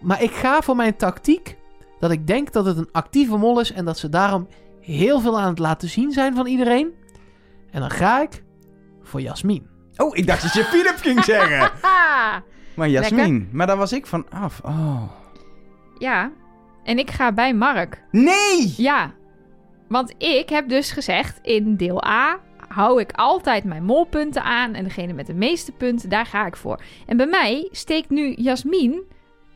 C: Maar ik ga voor mijn tactiek dat ik denk dat het een actieve mol is en dat ze daarom heel veel aan het laten zien zijn van iedereen. En dan ga ik voor Jasmin.
A: Oh, ik dacht dat je Philip ging
C: [LAUGHS]
A: zeggen.
B: Haha.
A: Maar Jasmin, maar daar was ik van af. Oh.
B: Ja, en ik ga bij Mark.
A: Nee!
B: Ja, want ik heb dus gezegd in deel A hou ik altijd mijn molpunten aan en degene met de meeste punten, daar ga ik voor. En bij mij steekt nu Jasmin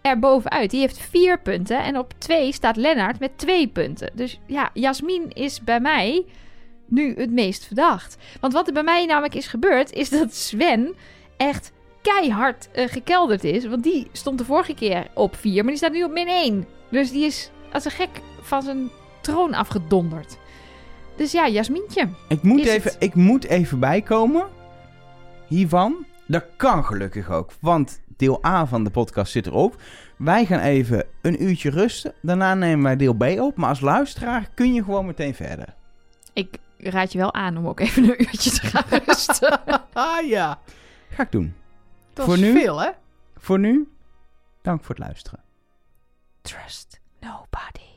B: er bovenuit. Die heeft vier punten en op twee staat Lennart met twee punten. Dus ja, Jasmin is bij mij nu het meest verdacht. Want wat er bij mij namelijk is gebeurd, is dat Sven echt keihard eh, gekelderd is. Want die stond de vorige keer op 4, maar die staat nu op min 1. Dus die is als een gek van zijn troon afgedonderd. Dus ja, Jasmintje.
A: Ik moet,
B: Is het?
A: even, ik moet even bijkomen hiervan. Dat kan gelukkig ook, want deel A van de podcast zit erop. Wij gaan even een uurtje rusten. Daarna nemen wij deel B op. Maar als luisteraar kun je gewoon meteen verder.
B: Ik raad je wel aan om ook even een uurtje te [LAUGHS] gaan rusten.
C: Ah ja,
A: Ga ik doen.
C: dat
A: Voor
C: is
A: nu?
C: veel hè?
A: Voor nu, dank voor het luisteren.
B: Trust nobody.